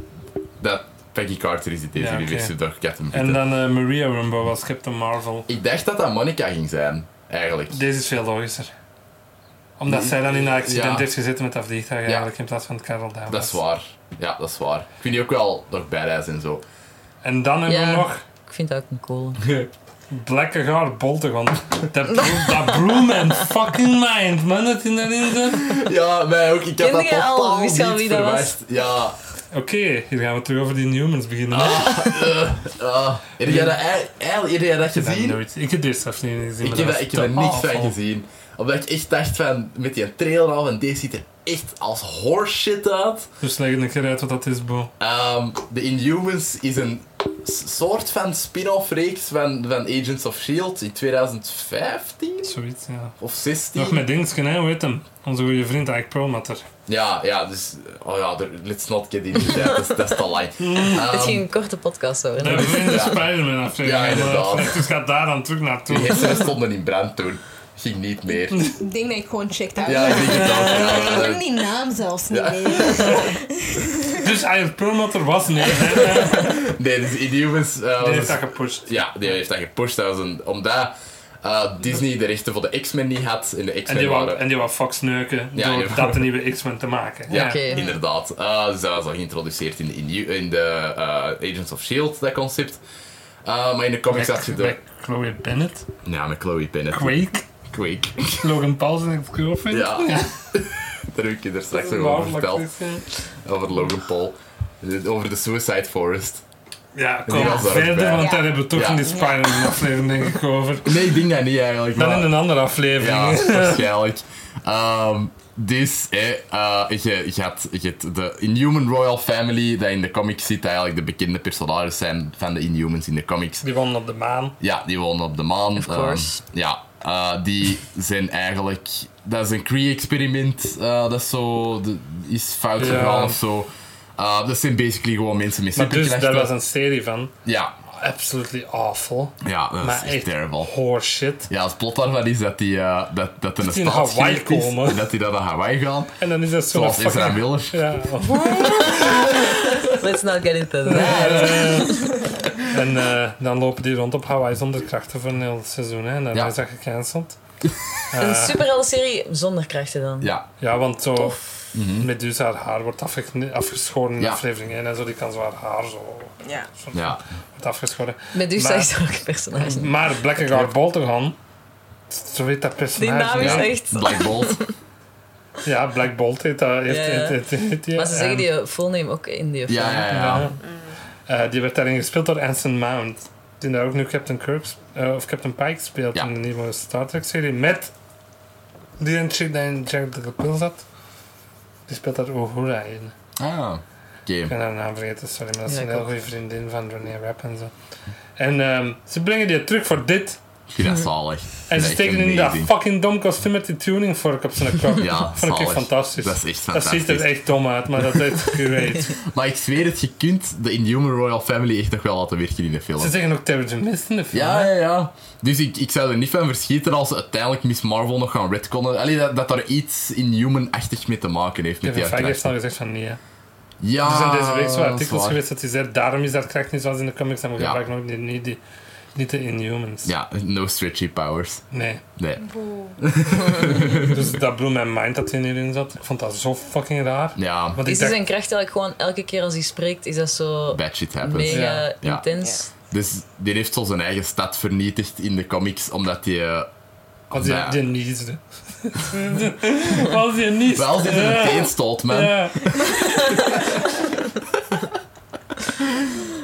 dat Peggy Carter is in deze Ja, oké. universum door Captain Britain. En dan eh, Maria Rambeau als Captain Marvel. Ik dacht dat dat Monica ging zijn, eigenlijk. Deze is veel logischer. Omdat zij dan in een accident Mm. Ja. heeft gezeten met dat vliegtuig eigenlijk in plaats van Carol Danvers. Dat is waar. Ja, dat is waar. Ik vind die ook wel nog badass en zo. En dan hebben Ja. we nog Ik vind dat ook een cool. Blekke gaar Boltegon. Dat, bro- dat broom en fucking mind, man, dat in daarin zit. Ja, mij ook. Ik heb Kende dat jij al? totaal Wist je al niet wie dat was? verwacht. Ja. Oké, hier gaan we terug over die Newmans beginnen. Ah, hè. eh, heb jij dat, ei- eigenlijk- heb jij dat Ik heb dat gezien? nooit. Ik heb dit zelf niet gezien. Ik maar heb, dat dat- was ik heb er te niks van awful. gezien. Omdat ik echt dacht van, met die trailer al, van deze ziet er echt als horseshit uit. Dus leg het een keer uit wat dat is, Bo. Ehm, De Inhumans is een s- soort van spin-off reeks van, van Agents of S.H.I.E.L.D. E in 2015 Zoiets, ja. of 16. Nog met Dingsken, hè, hoe heet hem? Onze goede vriend Ike Perlmutter. Ja, ja, dus... Oh ja, er- let's not get into that. Dat is- Dat is te lang. Het Ehm, ging een korte podcast Dat worden. hebben we in de Ja. Spider-Man aflevering. Ja, inderdaad. Dus gaat daar dan terug naartoe. Die hersenen stonden in brand toen. Ging niet meer. Ik denk dat ik gewoon checked out. Ja, ik denk het ook. Ik ja. ken die naam zelfs niet meer. Dus Iron Perlmutter was nee. Die Nee, dus Inhumans eh, was heeft een dat gepusht. Ja, die heeft dat gepusht. Dat was een, omdat eh, Disney de rechten voor de X-Men niet had. En de En X-Men die, wou, waren... en die wou Fox neuken Ja, door ja. dat de nieuwe X-Men te maken. Ja, Oké. inderdaad. Eh, dus dat was al geïntroduceerd in de, Inhu- in de eh, Agents of S.H.I.E.L.D., dat concept. Eh, maar in de comics had je Met, de... met Chloe Bennett, Ja, met Chloe Bennett. Quake, Quake. Logan Paul zijn ex-girlfriend. Ja. Daar heb ik je er straks nog over verteld. Over Logan Paul. Over de Suicide Forest. Ja, Die kom was daar ook verder, bij. want Ja. daar hebben we toch Ja. in die Spider-Man-aflevering denk ik over. Nee, ik denk dat niet eigenlijk. Dan maar- in een andere aflevering. Ja, waarschijnlijk. Ehm, dus, hè, eh, je, je, hebt, je hebt de Inhuman Royal Family, dat in de comics zit, eigenlijk de bekende personages zijn van de Inhumans in de comics. Die wonen op de maan. Ja, die wonen op de maan. Of course. Ehm, ja, eh, die zijn eigenlijk... Dat is een Cree-experiment. eh, dat is zo... de- is fout Ja. gegaan of zo. Eh, dat zijn basically gewoon mensen met Maar dus, daar superkrachten. was een serie van. Ja, Absolutely awful. ja, dat Maar is echt echt terrible. horseshit. Ja, het plot daarvan is dat die, eh, dat, dat er een die naar staatsgreep Hawaii is komen. en dat die dan naar Hawaii gaan. En dan is dat zo'n Zoals Ezra fucking... Miller. Ja. Let's not get into that. En eh, dan lopen die rond op Hawaii zonder krachten voor een heel seizoen. Hè. En dan Ja. is dat gecanceld. Een superheldenserie zonder krachten dan. Ja, Ja, want zo... Medusa, haar haar wordt afge- afgeschoren in Mhm. Ja. aflevering 1 en zo. Die kan zo haar haar zo Ja. ja. wordt afgeschoren. Medusa Maar- is ook een personage. Maar Blackagar Boltagon, zo heet dat Die naam personage. is Ja. echt... Black Bolt. Ja, Black Bolt heet dat. Heeft, Ja, ja. heet- heet- heet die. Maar ze zeggen En, die full name ook in die film. Ja, ja, ja. ja. Eh, die werd daarin gespeeld door Anson Mount. Die daar ook nu Captain Kirk sp- eh, of Captain Pike speelt Ja. in de nieuwe Star Trek serie. Met die een chick die in Jack the Pill zat. Die speelt daar Uhura in. Ah, oké. Ik ben haar naam vergeten, sorry. Maar dat is Ja, een ik heel ook. goede vriendin van René Rapp en zo. En ehm, ze brengen die terug voor dit. Ik vind dat zalig. En ze steken in dat fucking dom kostuum met die tuning vork op zijn kop. Ja, Vond ik echt zalig. fantastisch. Dat is echt Dat ziet er fantastisch. echt dom uit, maar dat is great. Maar ik zweer het, je kunt de Inhuman Royal Family echt nog wel laten werken in de film. Ze zeggen ook Terry Mist in de film. Ja, hè? ja, ja. Dus ik, ik zou er niet van verschieten als ze uiteindelijk Miss Marvel nog gaan retconnen. Allee, dat, dat daar iets Inhuman-achtig mee te maken heeft. Met die Kevin Feige heeft attractie. al gezegd van nee. hè. Ja, Er zijn deze week zo dat is artikels waar. geweest dat hij zei, daarom is dat kracht niet zoals in de comics, en we Ah, Ja. gebruiken ook niet, niet, die- niet de Inhumans. Ja, no stretchy powers. Nee. Nee. Dus dat blew mijn mind dat hij hierin zat. Ik vond dat zo fucking raar. Ja, Is Want dus ik die dacht, zijn kracht eigenlijk gewoon elke keer als hij spreekt, is dat zo bad shit happens. mega Ja. Ja. intens? Dus die heeft zo zijn eigen stad vernietigd in de comics, omdat die... eh, als je Ja. die niesde. als je niesde. Wel zit er ja. een teen stolt, man. Ja.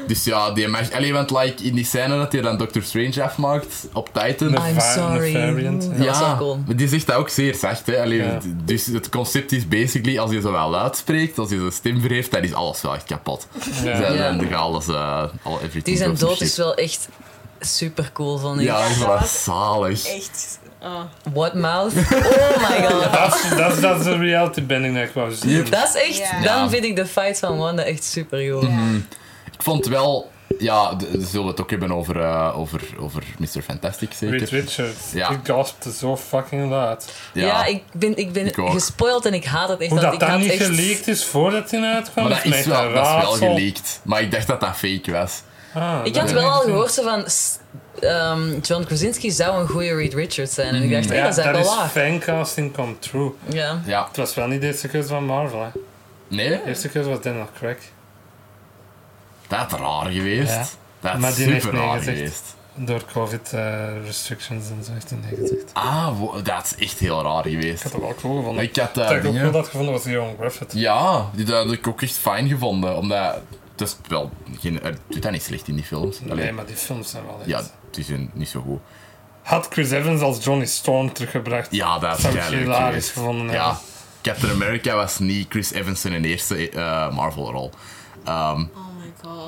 Dus ja, die mag... Allee, want like, in die scène dat hij dan Doctor Strange afmaakt op Titan... Nee. I'm va- een sorry. variant. Oeh, ja, Ah, Dat was wel cool. maar die zegt dat ook zeer zacht. Hè? Allee, Ja. Dus het concept is basically, als je zo wel uitspreekt, als je zo'n stem verheeft, dan is alles wel echt kapot. Ja. Dan, Ja. dan gaat alles... eh al everything Die zijn goes to dood shit. is wel echt super cool, vond ik. Ja, ik vond dat Ja. zalig. Echt. ah. What mouth? Oh my god. Dat is- Dat is- dat is de reality bending dat ik wou zien. Yep. Dat is echt, Ja. Ja. dan vind ik de fight van Wanda echt super cool. Ik vond wel... Ja, d- zullen we het ook hebben over, eh, over, over Mr. Fantastic, zeker? Reed Richards, Ja. die gaspte zo fucking laat. Ja, ik ben, ik ben Ik ook. gespoild en ik haat het echt. Hoe dat ik dan had niet echt... geleakt is voordat hij uitkwam, Maar dat me is, echt wel, een dat is wel raadsel. geleakt. Maar ik dacht dat dat fake was. Ah, Ik dat had heb wel al gezien. gehoord zo van... s- ehm, John Krasinski zou een goede Reed Richards zijn. En ik Mm. dacht, hey, Ja, dat is dat eigenlijk is wel waar. fancasting come true. Ja. Ja. Het was wel niet de eerste keuze van Marvel. Hè. Nee? De eerste keuze was Daniel Craig. Dat is raar geweest. Ja. Dat is Maar die heeft super nee raar gezegd. geweest. Door COVID eh, restrictions en zo heeft hij nee gezegd. Ik Ah, wo- dat is echt heel raar geweest. had dat wel cool gevonden. Ik had Wat dat... ik ook dingen- wel dat gevonden was Johan Griffith. Ja, die dat had ik ook echt fijn gevonden. Omdat... Het is wel... Geen, het doet dat niet slecht in die films. Nee, Allee, maar die films zijn wel echt. ja, het is een- niet zo goed. Had Chris Evans als Johnny Storm teruggebracht? Ja, dat is Zou ik eigenlijk hilarisch geweest. gevonden Ja. hebben. Captain America was niet Chris Evans zijn eerste eh, Marvel-rol. Ehm, Oh my god.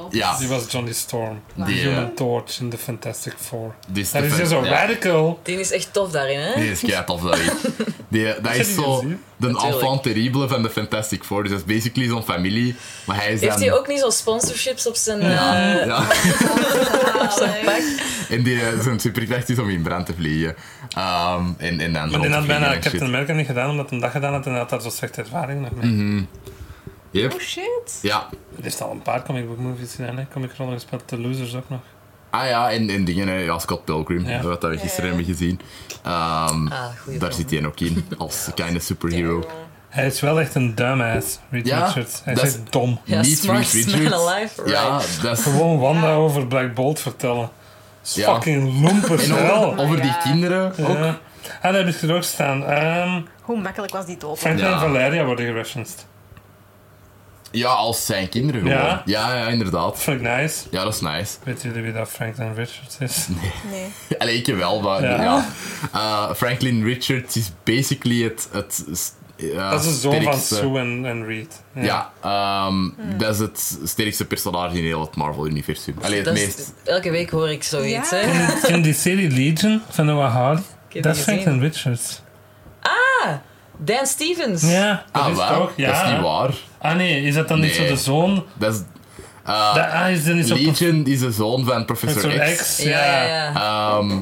Oh. Ja, Die was Johnny Storm. Die, Human eh, Torch in The Fantastic Four. die is Dat te is ver- hier zo ja. radical. Die is echt tof daarin, hè? Die is kei tof, dat weet ik. Die, dat heb is die zo gezien. de Natuurlijk. enfant terrible van de Fantastic Four. Dus dat is basically zo'n familie. Maar hij is Heeft dan... hij ook niet zo'n sponsorships op zijn, Ja, eh, ja. op zijn pak? En die eh, zijn superkracht is om in brand te vliegen. Ehm, en, en dan Maar die rond te had vliegen bijna en Captain shit. America niet gedaan, omdat hij dat gedaan had en hij had daar zo slechte ervaring nog mee. Oh Yep. shit. Ja. Er is al een paar comic book movies gedaan, hè. Comic rollen gespeeld, The Losers ook nog. Ah ja, en, en dingen, hè. ja, Scott Pilgrim, Ja. wat dat we gisteren Ja, ja. hebben gezien. Ehm, Ah, goeie daar film. zit hij ook in, als kleine superhero. Hij is wel echt een dumbass, Reed Ja, Richards. Hij is dat is- echt dom. Ja, Niet smart Reed man Richards. alive, right? Oh Ja, dat is... Gewoon Wanda over Black Bolt vertellen. Dat is Ja. fucking loempers En wel. over, over die Ja. kinderen ook. Ja. Ah, daar heb ik er ook staan. Ehm, Hoe makkelijk was die dood? Franklin Ja. en Valeria worden gereferenced. Ja, als zijn kinderen gewoon. Ja, Ja. ja, Dat inderdaad. vind ik nice. Ja, dat is nice. Weet jullie wie dat Franklin Richards is? Nee. Allee, ik wel, maar ja. Ja. Eh, Franklin Richards is basically het... het s- eh, dat is de zoon van sterkste- Sue en, en Reed. Ja. Ja, ehm, dat is het sterkste personage in heel het Marvel-universum. Allee, het Dat is- meest... elke week hoor ik zoiets, Ja. hè? In die serie Legion van Noah Hardy, heb dat die is gezien. Franklin Richards. Dan Stevens. Ja, dat Ah, is waar? toch? Ja. Dat is niet waar. Ah nee, is dat dan niet zo Nee. de zoon? Dat is... eh, Dat ah, is dan niet zo Legion is de zoon van Professor, Professor X. X? Ja, ja, ja. Ehm,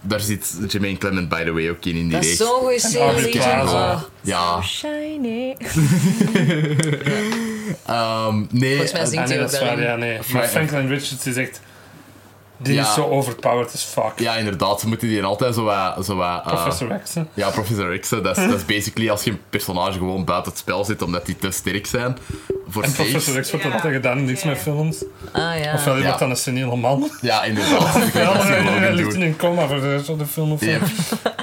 daar zit Jermaine Clement, by the way, ook in, in die dat is reeks. zo'n goede Aubrey serie. Plaza. Oh. Ja, Shiny. ehm, nee. Volgens mij eh, zingt Ah, nee, dat is waar, Daarin. ja, nee. Maar Maar- Franklin Richards is echt... Die Ja. is zo overpowered as fuck. Ja, inderdaad. Ze moeten die altijd zo wat... Zo wat eh, Professor X, hè. Ja, Professor X. hè. Dat is, dat is basically als je een personage gewoon buiten het spel zit, omdat die te sterk zijn. Voor En saves. Professor X wordt Ja. dat altijd gedaan, niks Ja. met films. Ah ja. Ofwel, die Ja. wordt dan een seniele man. Ja, inderdaad. Ik weet Ja, dat ze hij- Logan hij doen. ligt in een coma voor de rest van de film of zo. Yep.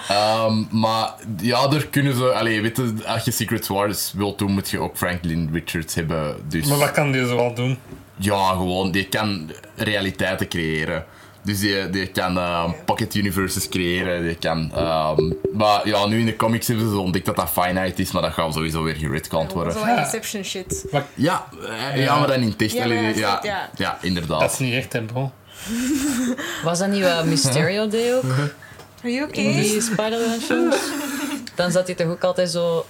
Ehm, maar ja, daar kunnen ze. Allee, weet je, als je Secret Wars wilt doen, moet je ook Franklin Richards hebben. Dus Maar wat kan die zo wel doen? ja, gewoon, die kan realiteiten creëren. Dus die, die kan ehm, pocket universes creëren. Die kan, ehm, maar ja, nu in de comics hebben ze ontdekt dat dat finite is, maar dat gaat sowieso weer geredcount worden. Zo'n Inception shit. Ja, eh, ja, maar dan in test. Ja, allee, maar dat is ja, het, ja. ja. inderdaad. Dat is niet echt, hè, bro. Was dat niet wat Mysterio deed ook? Are you okay? In die Spider-Man film? Dan zat hij toch ook altijd zo...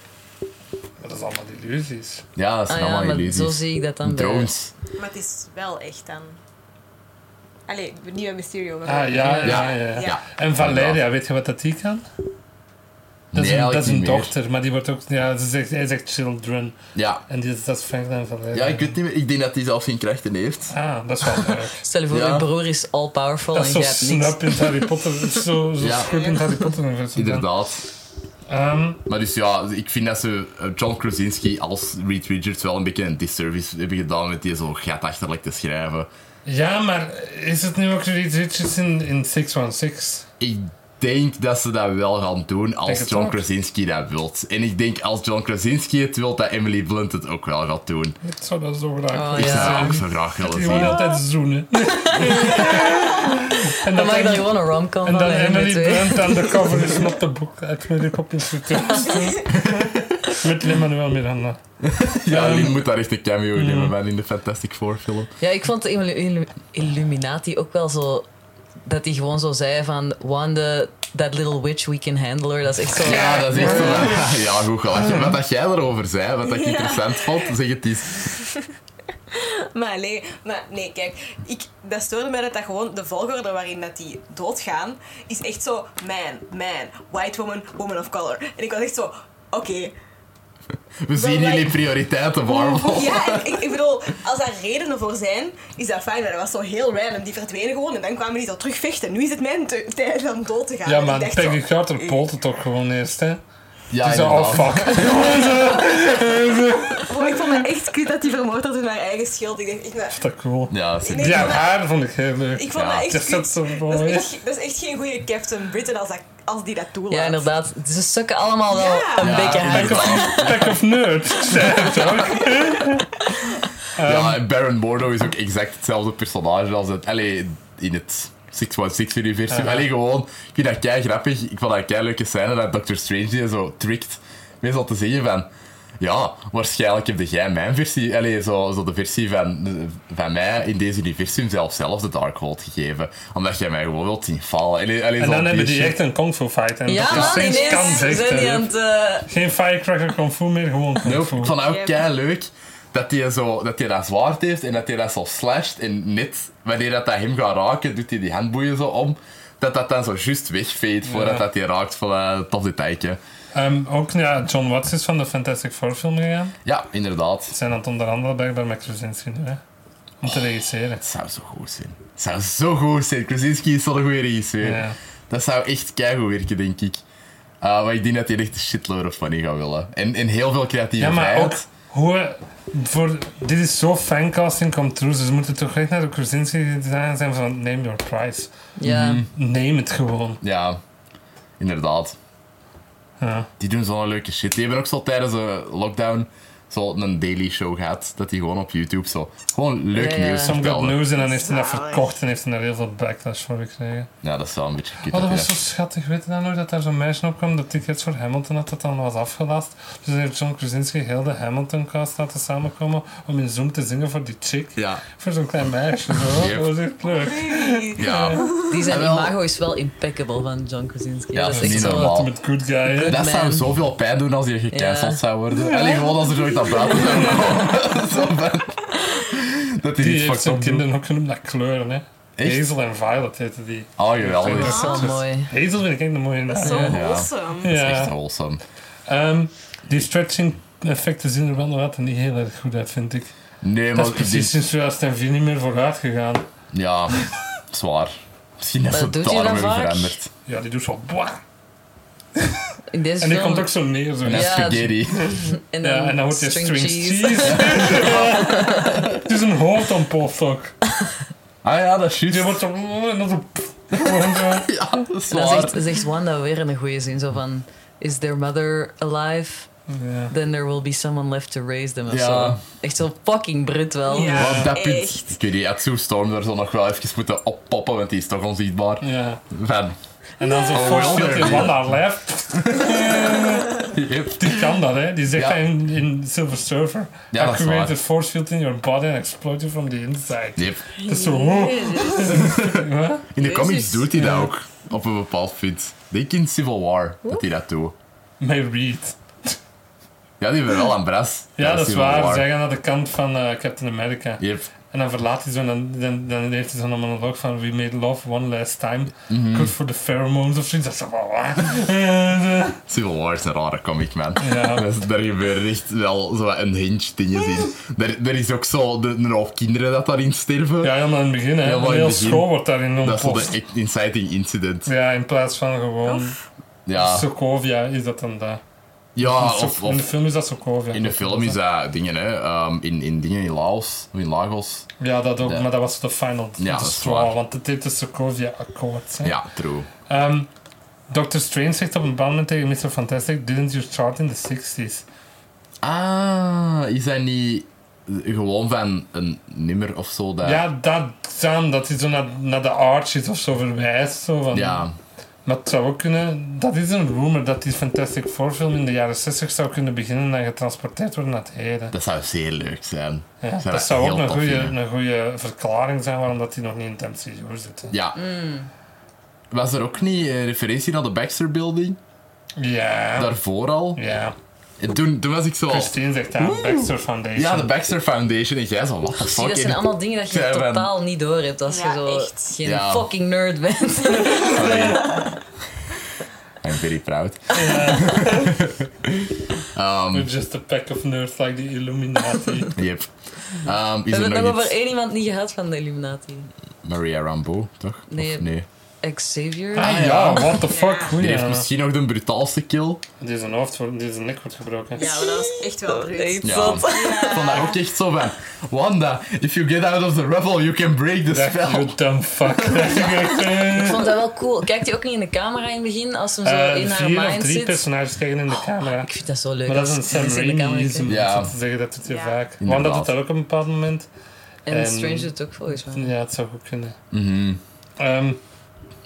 Maar dat is allemaal illusies. ja, dat Ah zijn ja, allemaal maar zo illusies. zie ik dat dan bij. Drones. Maar het is wel echt dan. Allee, niet een mysterio. Maar Ah, ja, ja, ja. Ja. ja. Ja. En Valeria, weet je wat dat die kan? Dat is Nee, een, dat eigenlijk is een niet meer. dochter, maar die wordt ook... Ja, ze zegt, hij zegt children. Ja. En die, is- dat is Franklin Valeria. ja, ik weet niet meer. Ik denk dat hij zelfs geen krachten heeft. Ah, dat is wel leuk. Stel je voor, Ja. je broer is all-powerful Dat en is je zo hebt niks. snap in het Harry Potter. Zo, zo Ja. scherp in het Harry Potter. universum. Inderdaad. Ehm, Maar dus ja, ik vind dat ze eh, John Krasinski als Reed Richards wel een beetje een disservice hebben gedaan met die zo gatachterlijk te schrijven. ja, maar is het nu ook Reed Richards in, in 616? Ik denk dat ze dat wel gaan doen als Denk het John ook. Krasinski dat wilt. En ik denk als John Krasinski het wilt, dat Emily Blunt het ook wel gaat doen. Ik zou dat zo graag Oh, Ik zou Ja. dat ook zo graag willen Die gewoon zien. altijd zoenen. en Dan dat maak ik en, daar gewoon een rom-com en van dan met Emily die twee. Blunt aan de cover is not the book uit Mary Poppins Returns. Met Lin-Manuel Miranda. Ja, Lin moet daar echt een cameo in hebben man, in de Fantastic Four film. Ja, ik vond de Illu- Illu- Illuminati ook wel zo... Dat hij gewoon zo zei van... Wanda, that little witch we can handle her. Dat is echt zo... Ja, dat is echt zo. Ja, goed gelachen. Wat dat jij erover zei, wat dat ik Ja. interessant vond, zeg het eens. Maar, allee, maar nee, kijk, ik, dat stoorde mij dat dat gewoon de volgorde waarin dat die doodgaan, is echt zo man, man, white woman, woman of color. En ik was echt zo, oké. We zien wij- jullie prioriteiten, Oh. Marvel. Ja, en ik, ik bedoel, als daar redenen voor zijn, is dat fijn, maar dat was zo heel random. Die verdwenen gewoon en dan kwamen die zo terug vechten. Nu is het mijn te- tijd om dood te gaan. Ja, En ik maar dacht Peggy zo, Carter polt het ook gewoon eerst, hè. Ja, Die zei, oh inderdaad. fuck. oh, ik vond het echt kut dat die vermoord had in haar eigen schild. Ik dacht, ik, nou, Dat is cool. Ja, dat is Nee, Ja, haar vond ik heel leuk. ik vond Ja, dat dat echt is dat kut. zo Dat mooi. is echt, dat is echt geen goede Captain Britain als, dat, als die dat toelaat. Ja, inderdaad. Ze sukken allemaal wel Ja. een Ja, beetje hard. inderdaad. Pack of nerds, ik zei het ook. Ehm, Ja, en Baron Mordo is ook exact hetzelfde personage als het. Allee, in het 616-universum. Allee, gewoon. Ik vind dat kei grappig. Ik vond dat kei leuke scène dat Doctor Strange die zo trickt. Meestal te zeggen van. Ja, waarschijnlijk heb jij mijn versie, allee, zo, zo de versie van, van mij in deze universum zelf zelf de Darkhold gegeven. Omdat jij mij gewoon wilt zien vallen. Allee, allee, En zo dan hebben die die shit. echt een kung fu fight. En Ja, dat is man, sinds ineens kan zijn die aan het... eh, Geen firecracker kung fu meer, gewoon kung Nope. fu. Ik vond dat ook Yep. kei leuk dat hij zo, dat, hij dat zwaard heeft en dat hij dat zo slasht. En net wanneer dat, dat hem gaat raken, doet hij die handboeien zo om. Dat dat dan zo juist wegveet voordat Ja. dat hij raakt. eh, Voilà, tof detailje. Ehm, ook ja, John Watts is van de Fantastic Four film gegaan. Ja, inderdaad. Ze zijn aan het onderhandelen blijkbaar met Krasinski nu, hè. Om te regisseren. Het zou zo goed zijn. Het zou zo goed zijn. Krasinski is zo'n goede regisseur. Ja. Dat zou echt keigoed werken, denk ik. Eh, maar ik denk dat hij echt een shitload of money gaat willen. En, en heel veel creatieve Ja, maar ook vrijheid. hoe... Voor, dit is zo fancasting come true. Ze moeten toch echt naar de Krasinski design zijn van name your price. ja. Mhm. Neem het gewoon. Ja, inderdaad. Ja. Die doen zo'n leuke shit. Die hebben ook zo tijdens de lockdown zo een daily show gehad. Dat die gewoon op YouTube zo gewoon leuk Ja, ja. nieuws Some good vertelden. news en dan heeft hij dat Zalig. verkocht en heeft hij daar heel veel backlash voor gekregen. Ja, dat is wel een beetje kut. Oh, dat hè. was zo schattig. Weet je dan nog dat daar zo'n meisje op kwam dat tickets voor Hamilton had dat dan was afgelast? Dus dan heeft John Krasinski heel de Hamilton-cast laten samenkomen om in Zoom te zingen voor die chick. Ja. Voor zo'n klein meisje. Zo. Yep. Dat was echt leuk. Ja. Eh, Die zijn Ah, wel. imago is wel impeccable van John Krasinski. Ja, dat is dat is niet echt zo... normaal. Wow. Met good guy. hè. Dat zou Man. zoveel pijn doen als je gecanceld Ja. zou worden. Alleen gewoon als er zoiets aan buiten zou komen. Zo van- dat hij Die niet heeft fucked zijn up doet. kinderen ook genoemd naar kleuren. Hè. Echt? Hazel en Violet heten die. Oh, Twee geweldig. Oh, dochters. mooi. Hazel vind ik echt een mooie naam. Dat is zo ja. awesome. Dat is Ja. echt wholesome. Ehm, die stretching effecten zien er wel nog altijd niet heel erg goed uit, vind ik. Nee, Dat maar is ik precies denk- sinds 2004 niet meer vooruit gegaan. Ja, zwaar. Misschien dat Maar ze doet hij daarom dat hebben vaak? veranderd. Ja, die doet zo... bwa. In deze En die film- komt ook zo neer. Zo. En Ja. spaghetti. en dan, Ja, en dan wordt je string, string cheese. cheese. Ja. Het is een hoofd aan potstock. Ah ja, dat is Die juist. wordt zo... En dan zo... Gewoon zo. Ja, dat is En dan zwaar. zegt, zegt Wanda weer in een goede zin zo van... Is their mother alive? Ja. Then there will be someone left to raise them of Ja. zo. Echt zo fucking Brit wel. Ja. Maar op Oh, dat punt, Echt. ik weet niet, had Sue Storm daar zo nog wel even moeten oppoppen, want die is toch onzichtbaar. ja. Van, En dan Oh, zo voorstelt je van haar lijf. yep. Die kan dat, hè. Die zegt Ja. dat in, in Silver Surfer. Ja, I dat is create waar. a force field in your body and explode you from the inside. Yep. Dat is zo... oh. Wat? In de Jezus. comics doet hij dat ook, op een bepaald punt. Denk in Civil War, dat hij dat doet. May read. Ja, die hebben wel aan Bras. Ja, dat is Civil waar. War. Zij gaan naar de kant van eh, Captain America. Yep. En dan verlaat hij zo en dan, dan, dan heeft hij zo'n monoloog van We made love one last time. Mhm. Good for the pheromones of zoiets. Dat is zo, wauw, wauw. Civil War is een rare comic, man. Ja. Dat is- daar gebeuren echt wel zo wat een hinge dingen in. Daar, daar is ook zo de, een hoop kinderen dat daarin sterven. Ja, helemaal in het begin. Hè. Helemaal in Een het heel begin. school wordt daarin Dat is zo ontploft. de echt inciting incident. Ja, in plaats van gewoon Ja, Sokovia is dat dan daar. ja So- of, in de of film is dat Sokovia. in de film is dat dingen, hè. ehm, in, in dingen in Laos, of in Lagos. Ja, dat ook, Ja. maar dat was de final Ja, dat is straw, waar. want het heeft de Sokovia-akkoord. hè. Ja, true. Ehm, Dr. Strange zegt op een bepaald moment tegen Mr. Fantastic, didn't you start in the 60s? Ah, is dat niet gewoon van een nummer of zo? Dat... Ja, dat dan, dat hij zo naar, naar de Archies of zo verwijst. Zo van, Ja, Maar het zou ook kunnen, dat is een rumor dat die Fantastic Four film in de jaren 60 zou kunnen beginnen en dan getransporteerd worden naar het heden. dat zou zeer leuk zijn. Ja, Zou dat, dat zou heel ook een tof goede, vinden. een goede verklaring zijn waarom dat die nog niet in het MCU zit. hè. Ja. Mm. Was er ook niet eh, referentie naar de Baxter Building? Ja, Daarvoor al? Ah. ja. En toen, toen was ik zo... Christine zegt daar, Baxter Foundation. Ja, de Baxter Foundation. En jij zo, what the Zie, fuck? dat zijn allemaal dingen dat je Kevin. totaal niet door hebt als je Ja, zo echt. geen Ja. fucking nerd bent. Sorry. I'm very proud. We're just a pack of nerds like the Illuminati. Ah, Yep. Ehm, is We hebben er het nog nog iets? over één iemand niet gehad van de Illuminati. Maria Rambo, toch? Nee. Of nee? Xavier? ah ja. ja, what the fuck, Ja. Die goeie. heeft misschien nog de brutaalste kill. Die zijn hoofd, wordt- die zijn nek wordt gebroken. Ja, maar dat was echt wel bruut. Iets Ja. zot. Ik vond dat ook echt zo van... Wanda, if you get out of the rubble, you can break the Dacht, spell. you dumb fuck. Dacht ik echt, eh. Ik vond dat wel cool. Kijkt hij ook niet in de camera in het begin als hem zo Eh, in haar vier of mind drie zit? personages kijken in de camera. Ik vind dat zo leuk. Maar dat is een als Sam mensen in de camera Raimi kijken. Ja. ja. te zeggen, dat doet hij Ja. vaak. Want Inderdaad. dat doet dat ook op een bepaald moment. En En- Strange doet het ook volgens mij. Ja, het zou goed kunnen. Mhm. Ehm,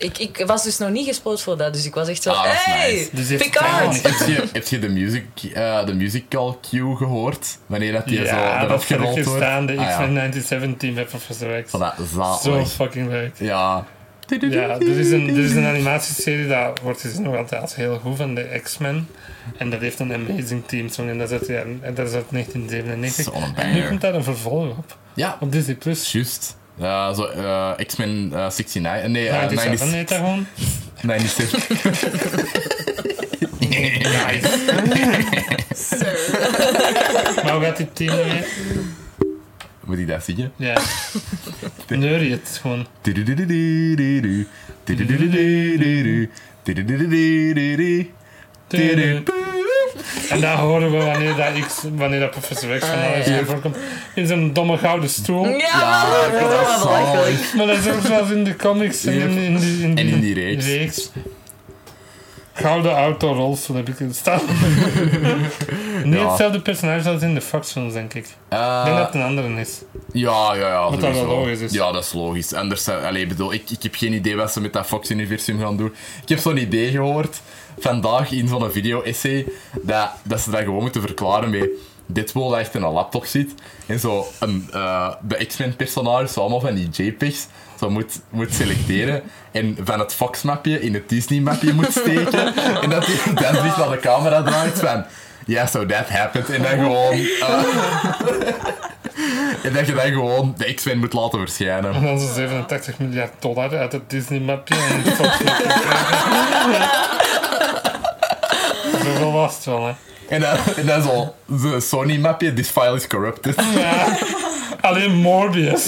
Ik, ik was dus nog niet gespoord voor dat, dus ik was echt zo... Ah, dat is hey, nice. Dus heeft Picard! Tron- Heb je, heb je de, music, eh, de musical cue gehoord? Wanneer dat die Ja, zo erop dat vind ik gerold wordt? gestaan. De Ah, ja. X-Men 1917 bij Professor X. Voilà, Zo zalig. fucking leuk. Ja. Ja, er is, een, er is een animatieserie dat wordt gezien nog altijd als heel goed van de X-Men. En dat heeft een Amazing Team Song en dat is uit, de jaren- en dat is uit 1997. Zo'n En nu banger. komt daar een vervolg op, Ja, op Disney+. Plus. juist. Eh, zo, eh, X-Men eh, 69. Nee, eh, 97 90 heet dat gewoon. 97. Nice. Sir. maar hoe gaat dit team nou weer? Moet ik dat zingen? Ja. Neurie het is gewoon. Tududududududu. Tududududududu. Tududududududu. Tudu. En daar horen we wanneer dat, X, wanneer dat Professor X van alles ja. voorkomt. In zo'n domme gouden stoel. Ja, Ja, man, dat is dat is wel belachelijk. zalig. Maar dat is ook zoals in de comics en in, in, die- in, En in die reeks. Gouden auto rolstoel heb ik staan. Niet Ja. hetzelfde personage als in de Fox-films, denk ik. Ik denk Eh, dat het een andere is. Ja, ja, ja. Wat dat wel sowieso. logisch is. Ja, dat is logisch. Anders, zou- allee, bedoel, ik, ik heb geen idee wat ze met dat Fox-universum gaan doen. Ik heb zo'n idee gehoord vandaag in zo'n video-essay dat, dat ze dat gewoon moeten verklaren met Deadpool dat echt in een laptop zit en zo een, eh, de X-Men-personages, zo allemaal van die JPEGs, zo moet, moet selecteren en van het Fox-mapje in het Disney-mapje moet steken en dat hij dan zich naar de camera draait van... Yeah, so that happened. En dan gewoon... eh, en dat je dan gewoon de X-Men moet laten En verschijnen. dan zo'n 87 miljard dollar uit het Disney-mapje en de Fox-mapje. Zoveel was het wel, hè. En dan, en dan zo, de Sony-mapje, this file is corrupted. Ja. Alleen Morbius.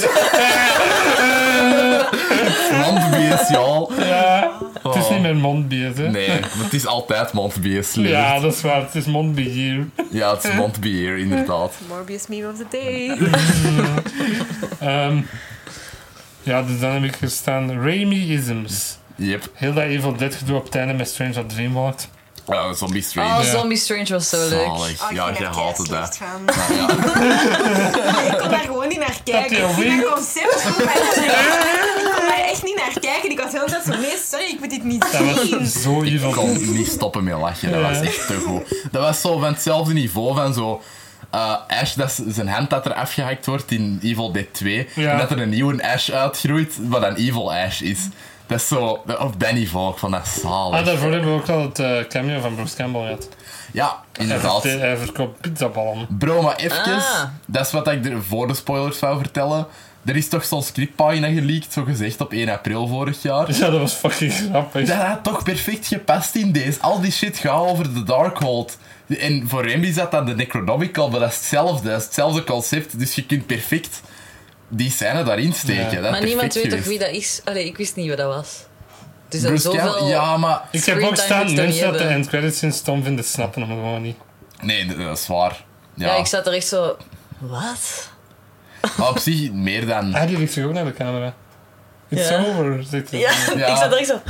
Mondbeest, y'all. Ja. Het is Oh. niet meer Mondbius, hè. Nee, het is altijd mondbeest. Ja, Ja. dat is waar. Het is Mondbier. ja, het is mondbeer, inderdaad. Morbius meme of the day. Oh, Ehm, ja, dus dan heb ik gestaan Raimi-isms. Yep. Heel dat Evil Dead gedoe op het einde met Strange of Dreamwalk. Oh, zombie strange. Oh, Ja. Zombie Strange was zo leuk. Oh, Zalig. Ja, jij haat het, hè. Van. Ja, ja. Ik kon daar gewoon niet naar kijken. Dat Ik je vind wint. dat concept goed, maar dat- Ik kon daar echt niet naar kijken. Ik was heel tijd zo, nee, sorry, ik moet dit niet Dat zien. was zo Evil Ik kon Dead. niet stoppen met lachen, dat Ja. was echt te goed. Dat was zo van hetzelfde niveau van zo... eh, Ash, dat is zijn hand dat er afgehakt wordt in Evil Dead 2. Ja. En dat er een nieuwe Ash uitgroeit, wat een Evil Ash is. Dat is zo... Op dat niveau, ik vond dat zalig. Ah, daarvoor hebben we ook al het eh, cameo van Bruce Campbell gehad. Ja, Hij, inderdaad. verkoopt- hij verkoopt pizzaballen. Bro, maar even, Ah. dat is wat ik er voor de spoilers zou vertellen. Er is toch zo'n scriptpagina geleakt, zo gezegd, op 1 april vorig jaar. Ja, dat was fucking grappig. Dat had toch perfect gepast in deze. Al die shit gaat over de Darkhold. En voor hem is dat dan de Necronomicon, maar dat is hetzelfde. Dat is hetzelfde concept, dus je kunt perfect die scène daarin steken. Ja. Dat is Maar niemand weet perfect toch wie geweest. dat is? Allee, ik wist niet wie dat was. Dus dat Bruce zoveel... Campbell- Ja, maar... Ik heb ook Screentime moet staan je toch mensen niet dat de hebben? end credits in stom vinden, snappen hem gewoon niet. Nee, dat is waar. Ja, Ja, ik zat er echt zo... Wat? maar op zich meer dan... Ah, die richt zich ook naar de camera. It's Ja. over, zegt hij. Ja, Ja. ik zat er echt zo...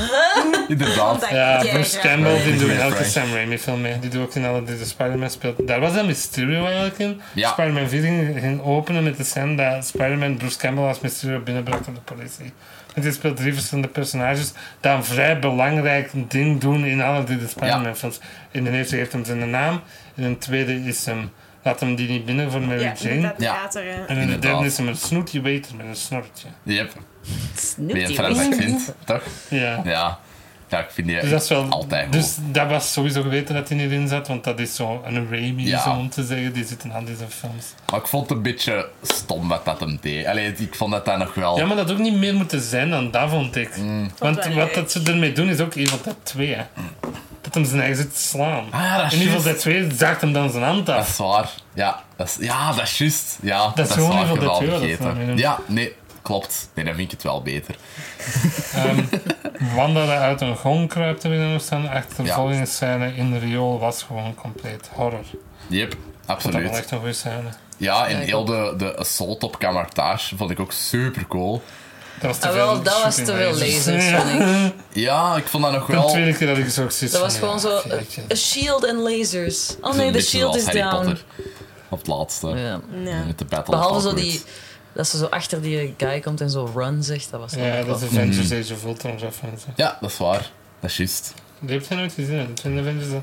Inderdaad. Ja, Ja, Bruce ja. Campbell, die Ja, doet ja, elke Frank. Sam Raimi film mee. Die doet ook in alle deze Spider-Man speelt. Daar was dat Mysterio eigenlijk in. Ja. Spider-Man 4 ging, ging openen met de scène dat Spider-Man Bruce Campbell als Mysterio binnenbracht aan de politie. Want hij speelt drie verschillende personages die een vrij belangrijk ding doen in alle deze Spider-Man films. In de eerste geeft hem zijn naam. In de tweede is hem, laat hem die niet binnen voor Mary Ja, Jane. dat Ja. later. hè. En in de Inderdaad. derde is hem een snoetje waiter met een snorretje. Yep. Weer een Snoepty Frans wee. accent, toch? Ja. Ja. Ja, ik vind die Dus dat is wel, altijd goed. Dus dat was sowieso geweten dat hij hierin zat, want dat is zo een Raimi, Ja. zo om te zeggen. Die zit in al deze films. Maar ik vond het een beetje stom wat dat hem deed. Allee, ik vond dat dat nog wel... Ja, maar dat had ook niet meer moeten zijn dan dat, vond ik. Mm. Want wel wat leuk. dat ze ermee doen is ook Evil Dead 2, hè. Dat hem zijn eigen zit te slaan. Mm. Ah, ja, dat is in Evil juist. Dead 2 zaakt hem dan zijn hand Dat af. is waar. Ja, dat is, ja, dat is juist. Ja, dat, is gewoon waar, Evil ik had Dead het al twee dat ze daarmee doen. Ja, nee, klopt. Nee, dan vind ik het wel beter. Ehm, Wanda die uit een gong kruipt erin nog staan. Achtervolgingsscène in de riool was gewoon compleet horror. Yep, Dat was absoluut. echt een goede scène. Ja, en Ja, ik heel de, de assault op Camartage vond ik ook super cool. Dat was te Ah, veel wel, dat was te shooting veel lasers, lasers. Ja. vond ik. Ja, ik vond dat nog De wel... tweede keer dat ik zo zoiets Dat was van, gewoon ja, zo... fuck, eh, ja. A shield en lasers. Oh een nee, the beetje shield zoals is Harry down. Potter. Op het laatste. Ja. Ja. Met de battle. Behalve of zo Hogwarts. die Dat ze zo achter die guy komt en zo run zegt, dat was wel Ja, echt Mm. dat is wel- Avengers Age of Ultron referentie. Ja, dat is waar. Dat is juist. Die heb je nooit gezien, hè? dat zijn de Avengers. hè? Dat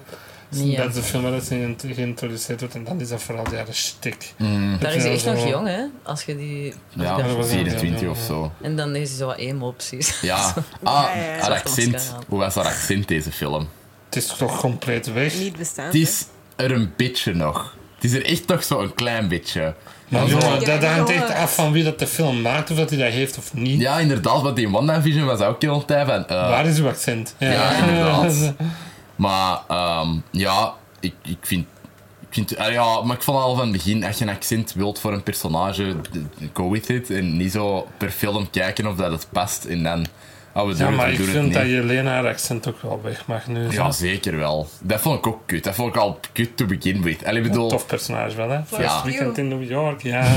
is- Nee, ja. Dat is de film waar dat ze in geïntroduceerd wordt en dan is dat vooral de jaren stik. Mm. Daar is hij echt nog jong, hè? Als je die... Ja, dat was- 24 ja, of ja. zo. En dan is hij zo wat emo, precies. Ja. Ja, ja, Ah, ja. haar accent. Hoe was haar accent, deze film? Het is toch compleet weg? Niet bestaan. Het is er een beetje nog. Het is er echt nog zo'n klein beetje. Maar Maar zo- jongen, dat Ja, hangt echt jongen. af van wie dat de film maakt, of dat hij dat heeft of niet. Ja, inderdaad, want die One Vision was ook heel tijd van. eh, Waar is uw accent? Ja, inderdaad. Maar ehm, ja, ik, ik vind. Ik vind ah ja, maar ik vond al van het begin, als je een accent wilt voor een personage, d- d- go with it. En niet zo per film kijken of dat het past. En dan, ah, we doen Ja, het, maar we ik doen het vind niet. dat Jelena haar accent ook wel weg mag nu. Ja, Zo'n zeker wel. Dat vond ik ook kut. Dat vond ik al kut to begin with. Allee, ik bedoel, Tof personage wel, hè? First Ja. Weekend in New York, ja.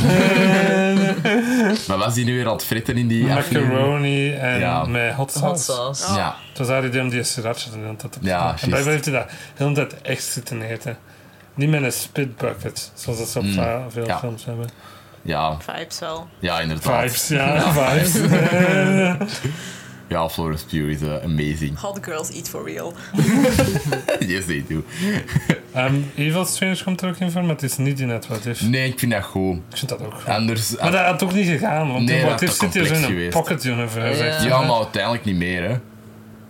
maar was die nu weer aan het fritten in die aflevering? Macaroni en Ja. met hot sauce. Hot sauce. Ja, Het was haar idee om die sriracha de hele tijd op te Ja, doen. juist. En blijkbaar heeft hij dat de hele tijd echt zitten eten. Niet met een spitbucket, zoals dat ze op va- veel Mm. Ja. films hebben. ja, Vibes wel. ja, inderdaad. Vibes, ja, vibes. Ja, Florence Pugh is eh, amazing. Hot girls eat for real. yes, they do. Ehm, Evil Strange komt er ook in voor, maar het is niet in het What If. Nee, ik vind dat goed. Ik vind dat ook goed. Anders... Maar dat had ook niet gegaan, nou, want Nee, in dat What had If te zit je zo in complex een geweest. pocket universe. Ja. echt. Ja, maar uiteindelijk niet meer, hè.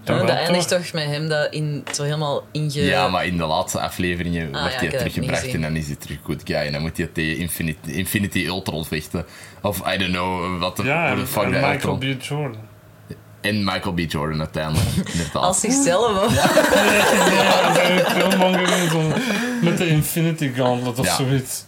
Ja, dat wel, eindigt toch? toch met hem dat in, zo helemaal inge... Ja, maar in de laatste afleveringen Ah, wordt ja, hij ik heb het teruggebracht niet en gezien. dan is hij terug good guy. En dan moet hij tegen Infinity, Infinity Ultron vechten. Of I don't know, wat de, Ja, hoe en, de fuck en dat Michael Ultron- B. Jordan. En Michael B. Jordan uiteindelijk, inderdaad. Als zichzelf, hoor. Ja, dat is een filmmonger in zo'n- met de Infinity Gauntlet of Ja. zoiets.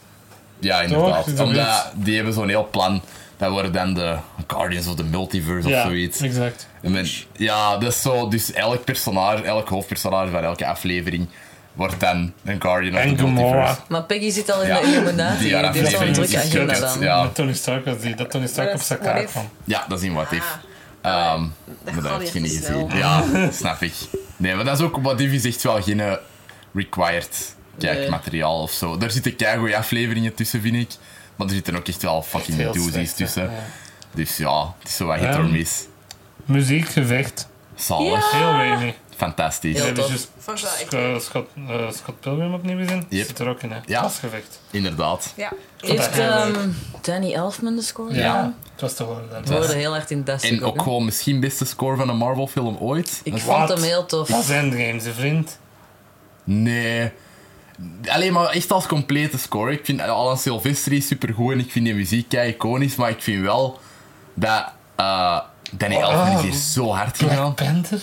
Ja, inderdaad. Toch? Omdat die hebben zo'n heel plan. Dat worden dan de Guardians of the Multiverse ja, of zoiets. exact. En men- ja, dat is zo. Dus elk personage, elk hoofdpersonage van elke aflevering wordt dan een Guardian of En the Multiverse. Gamora. Maar Peggy zit al in Ja. de Illuminati. Die haar Die heeft zo'n aflevering drukke is agenda gekut. dan. Ja. Met Tony Stark was die, dat Tony Stark Maar op dat zijn is- what kaart if? kwam. Ja, dat is in What If. Ah, Ehm, dat maar dat gaat heb je weer niet te gezien. snel. Ja, snap ik. Nee, maar dat is ook wat Divi zegt wel geen eh, required kijkmateriaal of zo. Daar zitten keigoede afleveringen tussen, vind ik. Maar er zitten ook echt wel fucking Heel doozies slecht, hè. tussen. Ja. Dus ja, het is zo wat hit Ehm. or miss. Muziek, gevecht, Ah, Zalig. heel weinig. Fantastisch. We Heel hebben tof. juist Vond ik wel echt Sc- eh, Scott, eh, Scott Pilgrim opnieuw gezien. Yep. Zit er ook in, hè? Ja. Pasgevecht. Inderdaad. Ja. Heeft Ja. ehm, Danny Elfman de score Ja. gedaan? Het was te horen. We hoorden heel hard in Dusty. En ook gewoon misschien beste score van een Marvel-film ooit. Ik Dat- vond Wat? hem heel tof. Dat zijn de games, hè, vriend. Nee. Alleen maar echt als complete score. Ik vind Alan Silvestri supergoed en ik vind die muziek kei iconisch, maar ik vind wel dat eh, Oh. Danny Elfman is hier zo hard Black gegaan. Panther?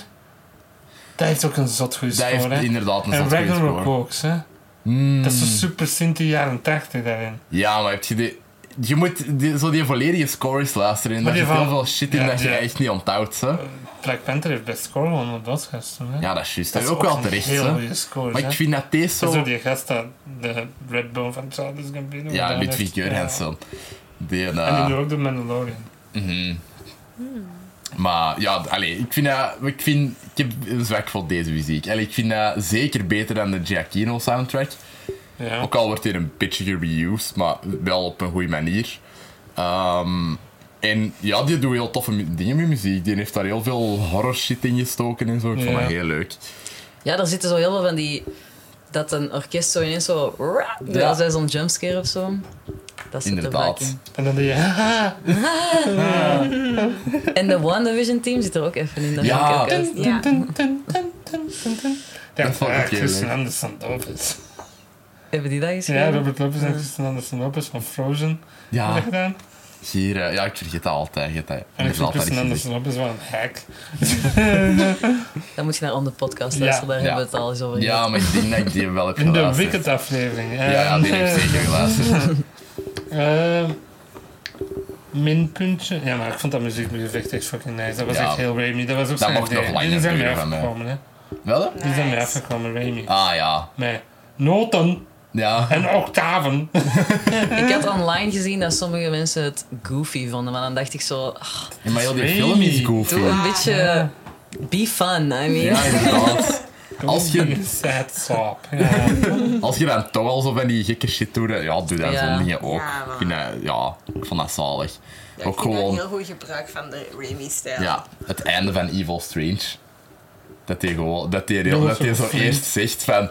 Dat heeft ook een zot goede Dat score, heeft hè? inderdaad een En zot goeie Ragnarok score. Hmm. ook, hè? Dat is zo super Sinti jaren 80 daarin. Ja, maar heb je de... Je moet die, zo die volledige scores luisteren en Maar daar die zit heel van- veel shit in ja, dat je ja. echt niet onthoudt. Hè? Black Panther heeft best score gewonnen op de Oscars, toen, hè? Ja, dat is juist. Dat Dat is is ook wel een terecht. heel hè. goeie score, Maar hè. ik vind dat deze Dat is zo... door die gast dat de Redbone van Charles Gambino. Ja, gedaan Ludwig heeft. Göransson. Die, eh, Ja. En die doet ook de Mandalorian. Maar ja, allee, ik vind dat... Ik, vind, ik heb een zwak voor deze muziek. Allee, ik vind dat zeker beter dan de Giacchino soundtrack. Ja. Ook al wordt hier een beetje gereused, maar wel op een goede manier. Ehm, en ja, die doet heel toffe mu- dingen met muziek. Die heeft daar heel veel horror shit in gestoken en zo. Ik vond Ja. dat heel leuk. Ja, daar zitten zo heel veel van die... Dat een orkest zo ineens zo... Ja. Dat is zo'n jumpscare of zo. Dat zit er vaak Inderdaad. in. En dan die ja. En de WandaVision team zit er ook even in. Dat Ja. vind ik ook uit. Ja. Ja, Dat vond ik ja, heel Christian leuk. Anderson Lopez. Hebben die dat geschreven? Ja, Robert Lopez en Christian Anderson Lopez van Frozen hebben dat Ja, gedaan. hier, eh, ja, ik vergeet dat altijd. Ik heb dat- ik En heb ik dat vind altijd Christian gezegd. Anderson Lopez wel een hack. Dan moet je naar On The Podcast Ja. luisteren. Daar Ja. hebben we het al eens over Ja, gehad. maar ik denk dat ik die wel heb In de geluisterd. Wicked aflevering. Ja, ja, die heb ik zeker geluisterd. Eh, minpuntje. Ja, maar ik vond dat muziek met gevecht echt fucking nice. Dat was Ja. echt heel Raimi. Dat was ook Dat zijn mocht idee. nog langer Die zijn mee duren van mij. afgekomen, hè. Wel? Die zijn mee Nice. afgekomen, Raimi. Ah ja. Met noten Ja. en octaven. Ik had online gezien dat sommige mensen het goofy vonden. Maar dan dacht ik zo... ah, Ja, maar heel die Raimi. film is goofy. Doe een beetje... Be fun, I mean. Ja, inderdaad. Als je, Sad sap. Ja. als je dan toch al zo van die gekke shit doet, ja, doe dan Ja. zo'n dingen ook. Ja, maar- Ik vind dat- ja, ik vond dat zalig. Ja, ik ook vind dat gewoon heel goed gebruik van de Raimi-stijl. ja, het einde van Evil Strange. Dat hij gewoon, dat hij dat hij zo Strange. eerst zegt van...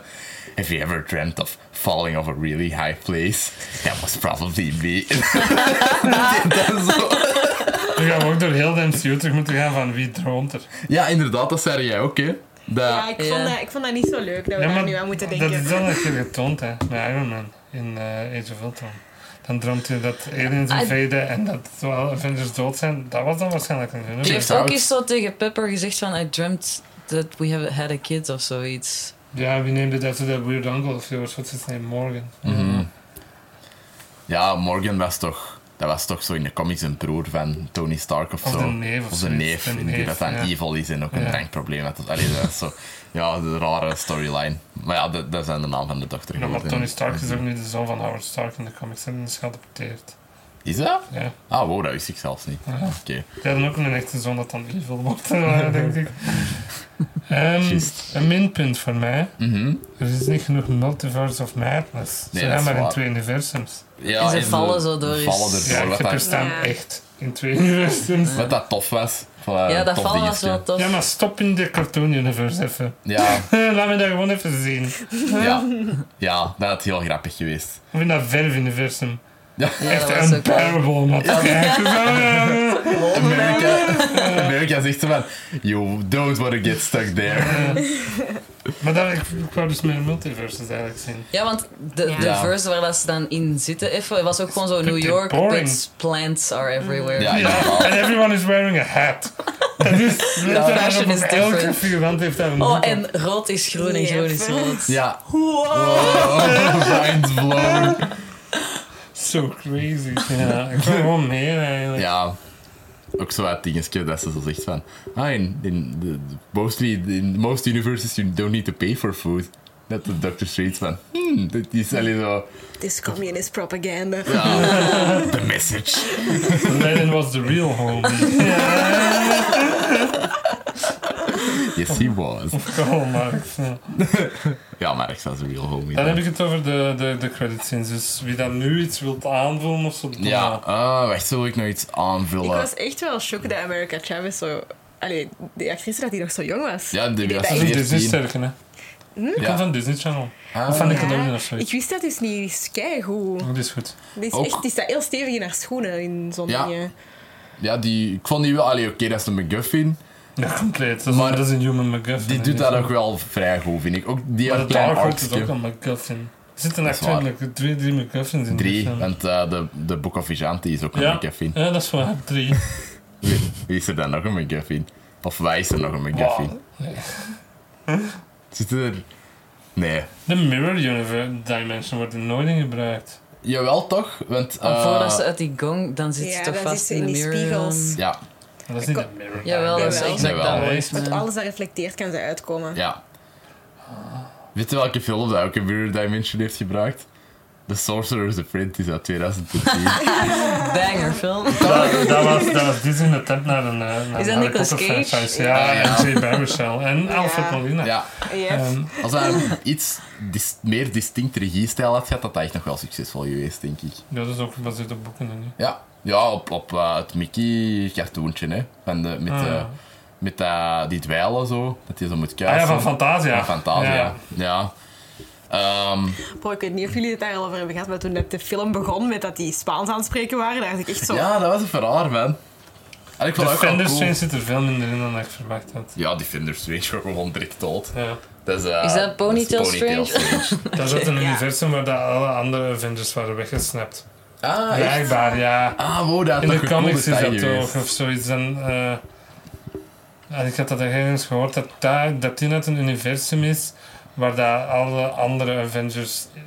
Have you ever dreamt of falling off a really high place? That was probably me. Dat hij dan zo- Dan gaan we ook door heel de MCU terug moeten gaan van wie droomt er. ja, inderdaad, dat zei jij ook, hè. Dat, Ja, ik, Ja. Vond dat, ik vond dat niet zo leuk dat we daar nu aan moeten denken. Dat is dan dat je getoond hè, bij Iron Man in eh, Age of Ultron. Dan droomt je dat aliens Ah, invaden en dat zowel Avengers dood zijn. Dat was dan waarschijnlijk een Je film. Cheers. heeft out. ook eens zo tegen Pepper gezegd van... I dreamt that we have had a kid of zoiets. Ja, wie neemt dat that weird uncle of yours? What's his name? Morgan. ja, Morgan was toch... Dat was toch zo in de comics een broer van Tony Stark of, Of zo. de neef of Of zijn neef. zoiets. De en die neef, dat dan ja. evil is en ook een Ja. drankprobleem had. Allee, dat is zo... Ja, een rare storyline. Maar ja, dat, dat is dan de naam van de dochter Ja, maar geworden. Tony Stark is ook nu de zoon van Howard Stark in de comics. Hebben is geadopteerd. Is dat? Ja. Ah, wow, dat wist ik zelfs niet. Ja. Oké, Die hadden ook een echte zoon dat dan evil wordt, eh, denk ik. Ehm, Juist. een minpunt voor mij. Mhm. Er is niet genoeg Multiverse of Madness. Ze Nee, zijn dat is maar in waar. twee universums. Ja, En ze en vallen zo door vallen eens. erdoor, Ja, wat, ik heb er dat, staan Ja. echt in twee universums. wat dat tof was. Voilà, ja, een dat tof val was dingetje. wel tof. Ja, maar stop in de cartoon universe even. Ja, Laat me dat gewoon even zien. Ik ja. ja, dat had heel grappig geweest. vind dat verf universum. Ja. Ja, dat was echt ook een parable om dat te kijken. Oh, Amerika, Amerika zegt zo van, you don't want to get stuck there. Maar dat, ik, ik wou dus meer multiverses eigenlijk zien. Ja, want de, de Ja. verse waar dat ze dan in zitten, even, was ook gewoon zo New pretty York, boring. pets, plants are everywhere. Ja, Ja, inderdaad. and everyone is wearing a hat. Dat is letterlijk fashion op is elke different. figurant heeft daar een Oh, hoed op. eh. en rood is groen en Yep. groen is rood. Ja. Wow, mind blown. So crazy. Ja, ik wil gewoon meer eigenlijk. Ja. Ook zo uit dingetje dat ze zo zegt van, ah, in, in, the, mostly, in most universes you don't need to pay for food. Dat de Dr. Strange van, hmm, dat is alleen zo... This communist propaganda. Ja, the message. Lenin was the real homie. Yes, he was. Karl Marx. ja. Ja, maar ik was een real homie. Dan heb ik het over de, de, de creditscenes. Dus wie dan nu iets wilt aanvullen of zo. doe Ja, maar. ah, wacht, zal ik nog iets Ik aanvullen? was echt wel shocked dat America Chavez zo... Allee, die actrice dat die nog zo jong was. Ja, die was Dat is dat een 14. Disney-sterke, hè? Dat Ja. komt van Disney Channel. Ah. Of van Nickelodeon Ja, of zoiets. ik wist dat dus niet. Die is keigoed. Dat Oh, is goed. Die, is Ook- echt, die staat heel stevig in haar schoenen in zo'n Ja. dingen. Ja, die, ik vond die wel... Allee, oké, dat is een McGuffin. Ja, compleet. Dat is, Maar dat is een human McGuffin. Die hè, doet dat is- ook wel vrij goed, vind ik. Ook die Maar had de een klein Dark Horse is arcje. ook een McGuffin. Er zitten Dat is eigenlijk twee, drie McGuffins in die Drie, film. want eh, de, de Book of Vigilante is ook een Ja, McGuffin. ja, dat is waar. Drie. Wie, wie is er dan nog een McGuffin? Of wij is er nog een McGuffin? Wow. Nee. Zit er... Nee. De Mirror Universe Dimension wordt er nooit in gebruikt. Jawel, toch? Want... Want eh, Oh, voordat ze uit die gong, dan zit ze Ja, toch dan vast zit ze in in de die mirror. spiegels. room. Ja, Dat is niet Ik- de Mirror Jawel, dat is Jawel. exact Jawel. dat. Nee. volgens mij. Want alles dat reflecteert kan ze uitkomen. ja. Weet je welke film dat ook een Mirror Dimension heeft gebruikt? The Sorcerer's Apprentice uit 2010. Banger film. Dat, dat was, dat was Disney in de tent naar een, eh, naar Is een dat Harry Nicolas Potter Cage? franchise. Ja, Ja. en Jay Baruchel en Alfred Molina. Ja, Yep. Ehm, als hij een iets dis- meer distinct regiestijl had gehad, had hij echt nog wel succesvol geweest, denk ik. ja, dat is ook gebaseerd op boeken. hè, nu. Ja, ja op, op eh, het Mickey-cartoontje, hè. Van de, met Ah, eh, ja. met eh, die dwijlen zo, dat hij zo moet Ah kuisen. ja, van Fantasia. Van Fantasia, ja. Ehm, Bro, ik weet niet of jullie het daar al over hebben gehad, maar toen net de film begon met dat die Spaans aan het spreken waren, dacht ik echt zo... ja, dat was een verhaar, man. En ik De vond dat ook wel Fender cool. Strange zit er veel minder in dan ik verwacht had. Ja, die Fender Strange was gewoon direct dood. Ja. Dat is, eh, Is dat Ponytail Dat is ook een ja. universum waar dat alle andere Avengers waren weggesnapt. Ah, echt? Blijkbaar, ja. Ah, wow, dat had In nog de een cool comics is detail dat geweest. toch, of zoiets. En, eh, en ik had dat ergens gehoord, dat daar, dat die net een universum is waar dat alle andere Avengers eh,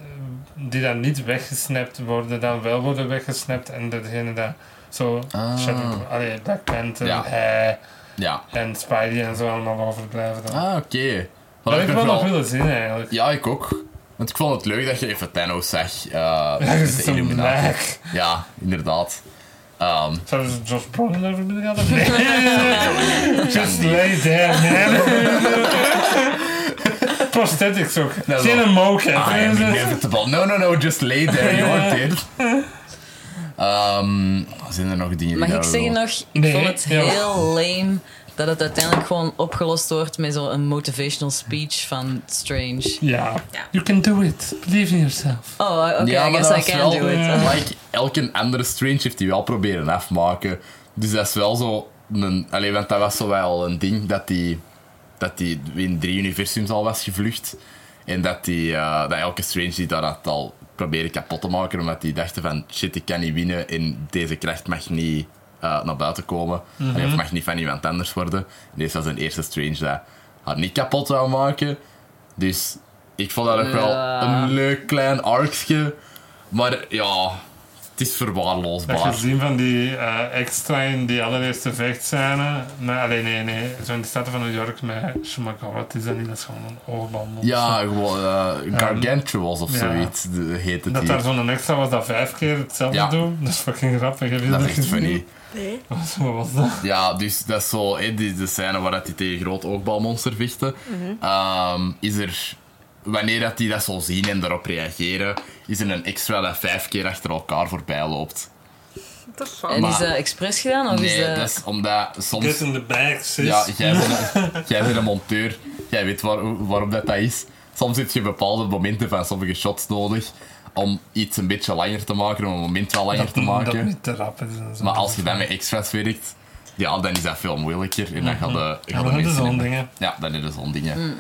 die dan niet weggesnapt worden, dan wel worden weggesnapt. En degene dat zo... Ah. Shadow, allee, Black Panther, Ja. hij Ja. en Spidey en zo allemaal overblijven dan. Ah, oké. dat Maar had ik wel nog nog willen zien eigenlijk. Ja, ik ook. Want ik vond het leuk dat je even Thanos zag. eh, Dat met is een black. Ja, inderdaad. Ehm, Zouden ze Josh Brolin over binnen gaan? Nee. Just lay there, man. prosthetics ook. No, Geen no. een mocap. I am inevitable. No, no, no, just lay there, you're dead. Ehm, zijn er nog dingen die Mag ik daar zeggen wel- nog, ik Nee, vond het ja. heel lame dat het uiteindelijk gewoon opgelost wordt met zo'n motivational speech van Strange. Ja. Ja. You can do it. Believe in yourself. Oh, oké, I guess dat I is can wel- do it. Like, elke andere Strange heeft die wel proberen afmaken. Dus dat is wel zo... Een, allee, want dat was zo wel een ding dat die, dat die in drie universums al was gevlucht. En dat, die, eh, dat elke Strange die dat had al proberen kapot te maken, omdat die dachten van shit, ik kan niet winnen en deze kracht mag niet eh, naar buiten komen. Allee, Mhm. of mag niet van iemand anders worden. En deze was een eerste Strange dat haar niet kapot wou maken. Dus ik vond dat ook wel Ja. een leuk klein arkje. Maar ja, het is Dat je verwaarloosbaar. gezien van die eh extra in die allereerste vechtscène. Nee, alleen nee, nee. Zo in de Staten van New York met Schumacher. Wat is dat niet? Dat is gewoon een oogband. Ja, gewoon eh gargantuals of Ja. zoiets de- heet het Dat daar hier. zo'n extra was dat vijf keer hetzelfde Ja. doet. Dat is fucking grappig. Heb je Dat dat is echt gezien? funny. Nee. Wat was dat? Ja, dus dat is zo, hè, die, de scène waar dat die tegen groot oogbalmonster vechten. Mhm. Ehm, is er, wanneer dat die dat zo zien en daarop reageren, is er een extra dat vijf keer achter elkaar voorbij loopt. Dat is En van. Maar- is dat expres gedaan? Of is eh, nee, dat... dat is omdat soms... Get in the bag, sis. Ja, jij bent, jij bent een monteur. Jij weet waar, waarom dat, dat is. Soms heb je bepaalde momenten van sommige shots nodig om iets een beetje langer te maken, om een moment wel langer dat, te Dat maken. niet te rap is en zo. Maar als je dan met extras werkt, ja, dan is dat veel moeilijker. En dan gaan de, Mhm. Ja, gaan maar dat is mensen zo'n niet- dingen. Ja, dan is het zo'n dingen.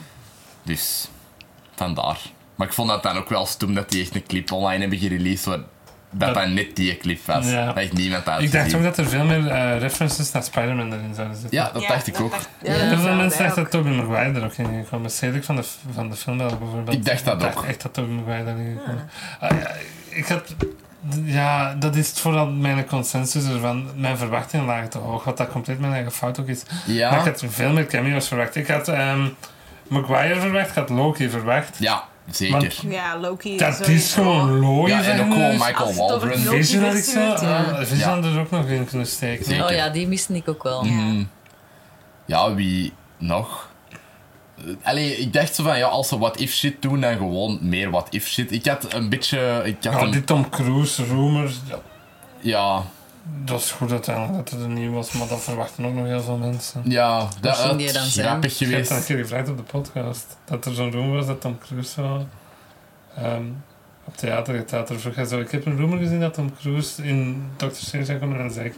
Dus, vandaar. Maar ik vond dat dan ook wel stoem dat die echt een clip online hebben gereleased, waar dat Dat- dat net die clip was. Ja. Dat echt niemand had Ik dacht gezien. ook dat er veel meer eh, references naar Spider-Man erin zouden zitten. Ja, dat dacht ik ook. Ja, Heel dat veel dacht mensen wij dachten ook. dat Tobey Maguire er ook in ging komen. Cedric van de, van de film wel bijvoorbeeld. Ik dacht dat ook. echt dat Tobey Maguire erin ging komen. Ah, ja, ik had... Ja, dat is vooral mijn consensus ervan. Mijn verwachtingen lagen te hoog, wat dat compleet mijn eigen fout ook is. Maar ik Ja, had veel meer cameo's verwacht. Ik had ehm, Maguire verwacht, ik had Loki verwacht. ja zeker. Ja, Loki. Dat sowieso. is gewoon looi. Ja, en ook gewoon Als Michael het over Waldron. Loki- Vision had ik zo. Multiverse eh, werd, ah, Vision had er ook nog in kunnen steken. Zeker. Oh ja, die miste ik ook wel. Mhm. Ja, wie nog? Eh, Allee, ik dacht zo van, ja, als ze what-if shit doen, dan gewoon meer what-if shit. Ik had een beetje... Ik had Nou, een- die Tom Cruise rumor, Ja, dat is goed uiteindelijk dat het er niet was, maar dat verwachten ook nog heel veel mensen. ja, dat Misschien had die dan zijn. grappig Ik heb geweest. dat een keer gevraagd op de podcast, dat er zo'n rumor was dat Tom Cruise zo, ehm, op theater, het theater vroeg hij zo, ik heb een rumor gezien dat Tom Cruise in Dr. Strange zou komen en dan zei ik,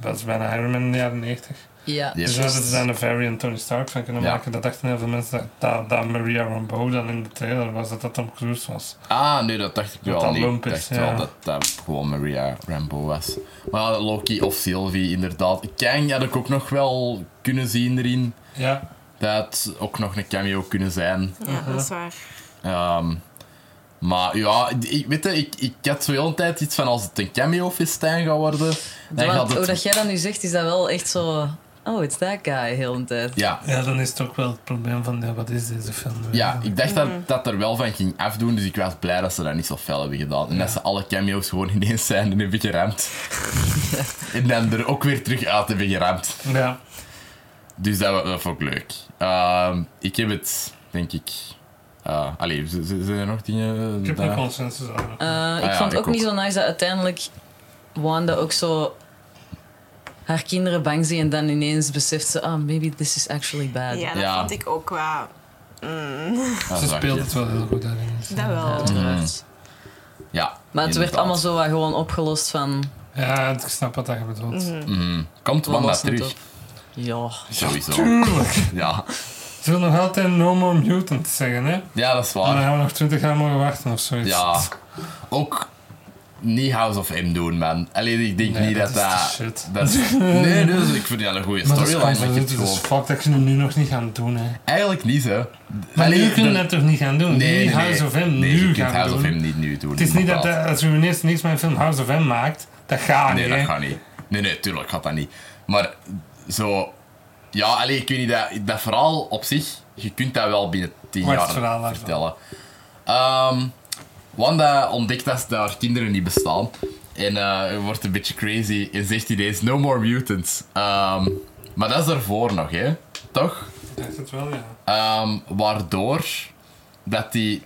dat is bijna Iron Man in de jaren 90. Ja. Ja. Dus daar hadden ze dan een variant Tony Stark van kunnen Ja. maken. Dat dachten heel veel mensen dat, dat, dat Maria Rambeau dan in de trailer was, dat dat Tom Cruise was. Ah, nee, dat dacht ik Dat wel dat niet. lump Ik is, dacht ja. wel dat dat gewoon Maria Rambo was. Maar ja, Loki of Sylvie, inderdaad. Kang had ik ook nog wel kunnen zien erin. Ja, Dat had ook nog een cameo kunnen zijn. Ja, dat is waar. Ehm, maar ja, ik, weet je, ik, ik had zo heel een tijd iets van als het een cameo-festijn gaat worden, dan Want gaat hoe het... dat jij dat nu zegt, is dat wel echt zo... Oh, it's that guy, heel een tijd. Ja, ja dan is het ook wel het probleem van, ja, wat is deze film? ja, ik dacht Mm. dat dat er wel van ging afdoen, dus ik was blij dat ze dat niet zo fel hebben gedaan. En dat ze alle cameo's gewoon ineens zijn en hebben geramd. en dan er ook weer terug uit hebben geramd. Ja. Dus dat, wa- dat vond ik leuk. Ehm, ik heb het, denk ik... eh allee, z- z- zijn er nog dingen? Ik heb daar- een consensus Ah. aan. Eh, Ah ik ja, vond ik het ook, ook. niet zo nice dat uiteindelijk Wanda ook zo haar kinderen bang ziet en dan ineens beseft ze, oh, maybe this is actually bad. Ja, dat Ja. vond ik ook qua. Mm, Ah, Ze zag speelt je. het wel heel goed daarin. dat wel. Uiteraard. Ja, Maar het werd inderdaad. allemaal zo wat gewoon opgelost van... Ja, ik snap wat dat je bedoelt. Mhm. Komt we Wanda lossen het terug. op. Ja. Sowieso. Tuurlijk! Ja. Ze wil nog altijd No More Mutant zeggen, hè? ja, dat is Maar dan waar. gaan we nog 20 jaar mogen wachten of zoiets. Ja. Ook niet House of M doen, man. Alleen ik denk Nee, niet dat dat dat. is de shit. dat is- nee, dus ik vind dat een goede Maar dat is storyline. gewoon maar je van, hebt dit is gewoon- fuck, dat kunnen we nu nog niet gaan doen, hè? Eigenlijk niet, hè? Maar Allee, nu kunnen we dan- dat toch niet gaan doen? Nee, nee, niet House nee. of M nee, je nu kunt gaan House doen. of M niet nu doen. Het is niet dat, inderdaad. dat als we ineens niks met een film House of M maakt, dat gaat Nee, niet, hè? dat gaat niet. Nee, nee, tuurlijk gaat dat niet. Maar zo... Ja, alleen ik weet niet, dat, dat verhaal op zich, je kunt dat wel binnen tien Wat is jaar het verhaal daarvan? vertellen. Ehm, Wanda ontdekt dat ze haar kinderen niet bestaan. En eh, wordt een beetje crazy en zegt ineens, no more mutants. Ehm, maar dat is daarvoor nog, hè? Toch? Ik dacht het wel, ja. Ehm, waardoor dat die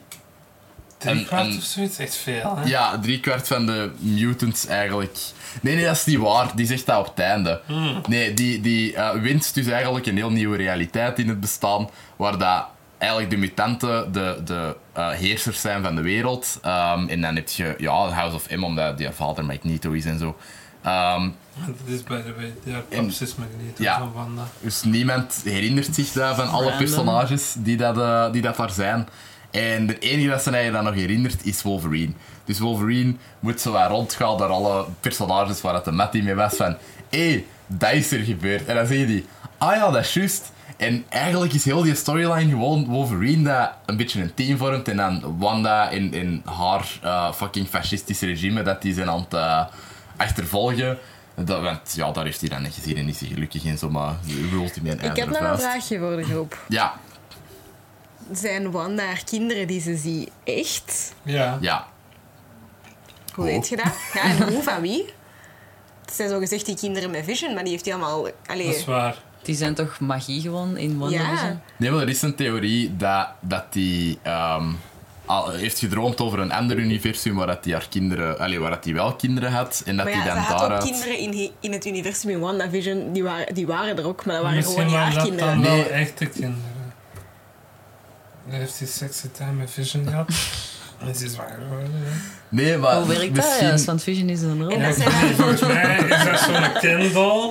Drie En- kwart en- of zoiets, echt veel. Hè? Ja, driekwart van de mutants eigenlijk. Nee, nee, dat is niet waar. Die zegt dat op het einde. Nee, die, die eh, winst dus eigenlijk een heel nieuwe realiteit in het bestaan. Waar dat eigenlijk de mutanten de, de eh, heersers zijn van de wereld. Ehm, en dan heb je ja, House of M, omdat die vader Magneto is en zo. Ehm, Dat is bij de way, ja, En- precies Magneto Ja. van Wanda. dus niemand herinnert zich dat van alle Random. personages die dat, eh, die dat daar zijn. En de enige dat ze mij dan nog herinnert is Wolverine. Dus Wolverine moet zo wat rondgaan door alle personages waar het de Matty mee was. Van hé, hey, dat is er gebeurd. En dan zeg je die, ah ja, dat is juist. En eigenlijk is heel die storyline gewoon Wolverine dat een beetje een team vormt. En dan Wanda in, in haar eh, fucking fascistische regime dat die zijn aan het eh, achtervolgen. Dat, want ja, daar heeft hij dan niet gezien en is hij gelukkig in zomaar rult hij met een Ik heb ijzeren nog een vuist. vraagje voor de groep. Ja, Zijn Wanda haar kinderen die ze ziet echt? Ja. ja. Hoe Oh. weet je dat? Ja, en hoe van wie? Het zijn zo gezegd die kinderen met Vision, maar die heeft hij allemaal... Allee, Dat is waar. Die zijn toch magie gewoon in WandaVision? ja. Ja. Nee, maar er is een theorie dat, dat die ehm, al, heeft gedroomd over een ander universum waar dat die haar kinderen, allee, waar dat die wel kinderen had en dat Maar die ja, ze dan had ook daaruit. kinderen in, he- in het universum in WandaVision. Die waren, die waren er ook, maar dat waren Misschien gewoon waren niet dat haar kinderen. dan wel Nee. echte kinderen. Dan heeft hij sexy time met Vision gehad. En is hij zwanger geworden. hè. Nee, maar Hoe werkt dat? misschien, Ja, want Vision is een rol. En Ja, dat zijn ik- dan- volgens mij is dat zo'n kindel,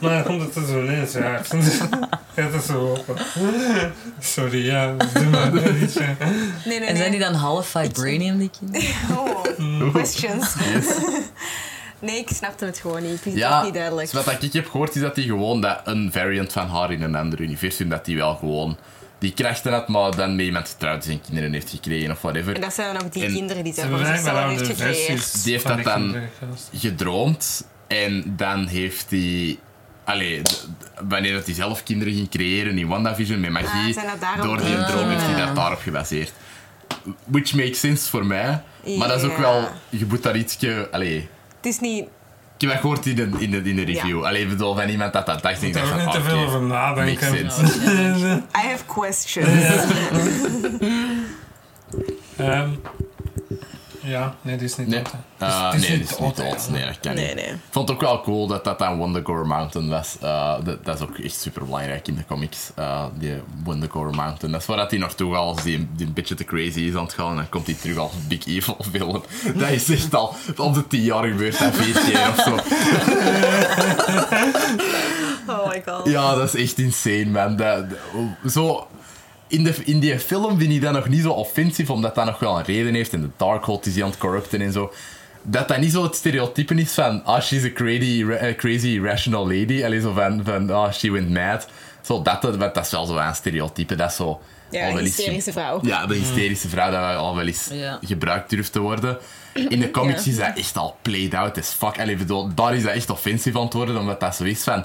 maar dan komt het er zo ineens uit. Ja, dat is zo open. Sorry, ja, doe maar een liedje. Nee, nee, En zijn nee. die dan half vibranium, die kinderen? Oh, Hmm. questions. Nee, ik snapte het gewoon niet. Ik vind het ja, echt niet duidelijk. dus wat ik heb gehoord is dat die gewoon dat een variant van haar in een ander universum, dat die wel gewoon die krachten had, maar dan met iemand getrouwd is en kinderen heeft gekregen of En whatever. dat zijn dan ook die En- kinderen die Ze zij hebben voor blijkbaar zichzelf aan heeft de gecreëerd. versies Die heeft van dat dan- kinderen gehad. gedroomd en dan heeft hij. Allee, d- d- wanneer dat hij zelf kinderen ging creëren in WandaVision met Ah, magie, zijn dat daarom door die die droom heeft hij kinderen? dat daarop gebaseerd. Which makes sense voor mij, maar dat is ook Ja. wel, je moet daar ietsje. Allee, Het is niet... ik heb dat gehoord in de, in de, in de review. Allee, ik bedoel, van iemand dat dat dacht, ik Daar dacht heb van, ah, ik niet te oké. veel over nadenken. Makes I have questions. Ehm, ja, nee, die is niet Nee, dood, hè. Eh, Het is- het is nee, niet dat is niet dood, dood. hè. Nee, dat kan Nee, niet. nee. Ik vond het ook wel cool dat dat aan Wondagore Mountain was. Eh, dat, dat is ook echt super belangrijk in de comics, eh, die Wondagore Mountain. Dat is waar dat hij naartoe gaat als die, die een beetje te crazy is aan het gaan. En dan komt hij terug als Big Evil villain. Dat is echt al op de tien jaar gebeurd, dat vier keer of zo. Oh my god. Ja, dat is echt insane, man. Dat, dat- zo, in, de, in die film vind ik dat nog niet zo offensief, omdat dat nog wel een reden heeft. En de Darkhold is die aan het corrupten en zo. Dat dat niet zo het stereotype is van... Ah, she's a crazy, ra- eh, crazy irrational lady. Allee, zo van... van ah, she went mad. Zo, dat, dat, want dat is wel zo een stereotype. Dat is zo... Ja, al een wel eens ge- hysterische vrouw. Ja, de hysterische vrouw dat al wel eens Ja. gebruikt durft te worden. In de comics is dat echt al played out as fuck. Allee, ik bedoel, daar is dat echt offensief aan het worden, omdat dat zo is van...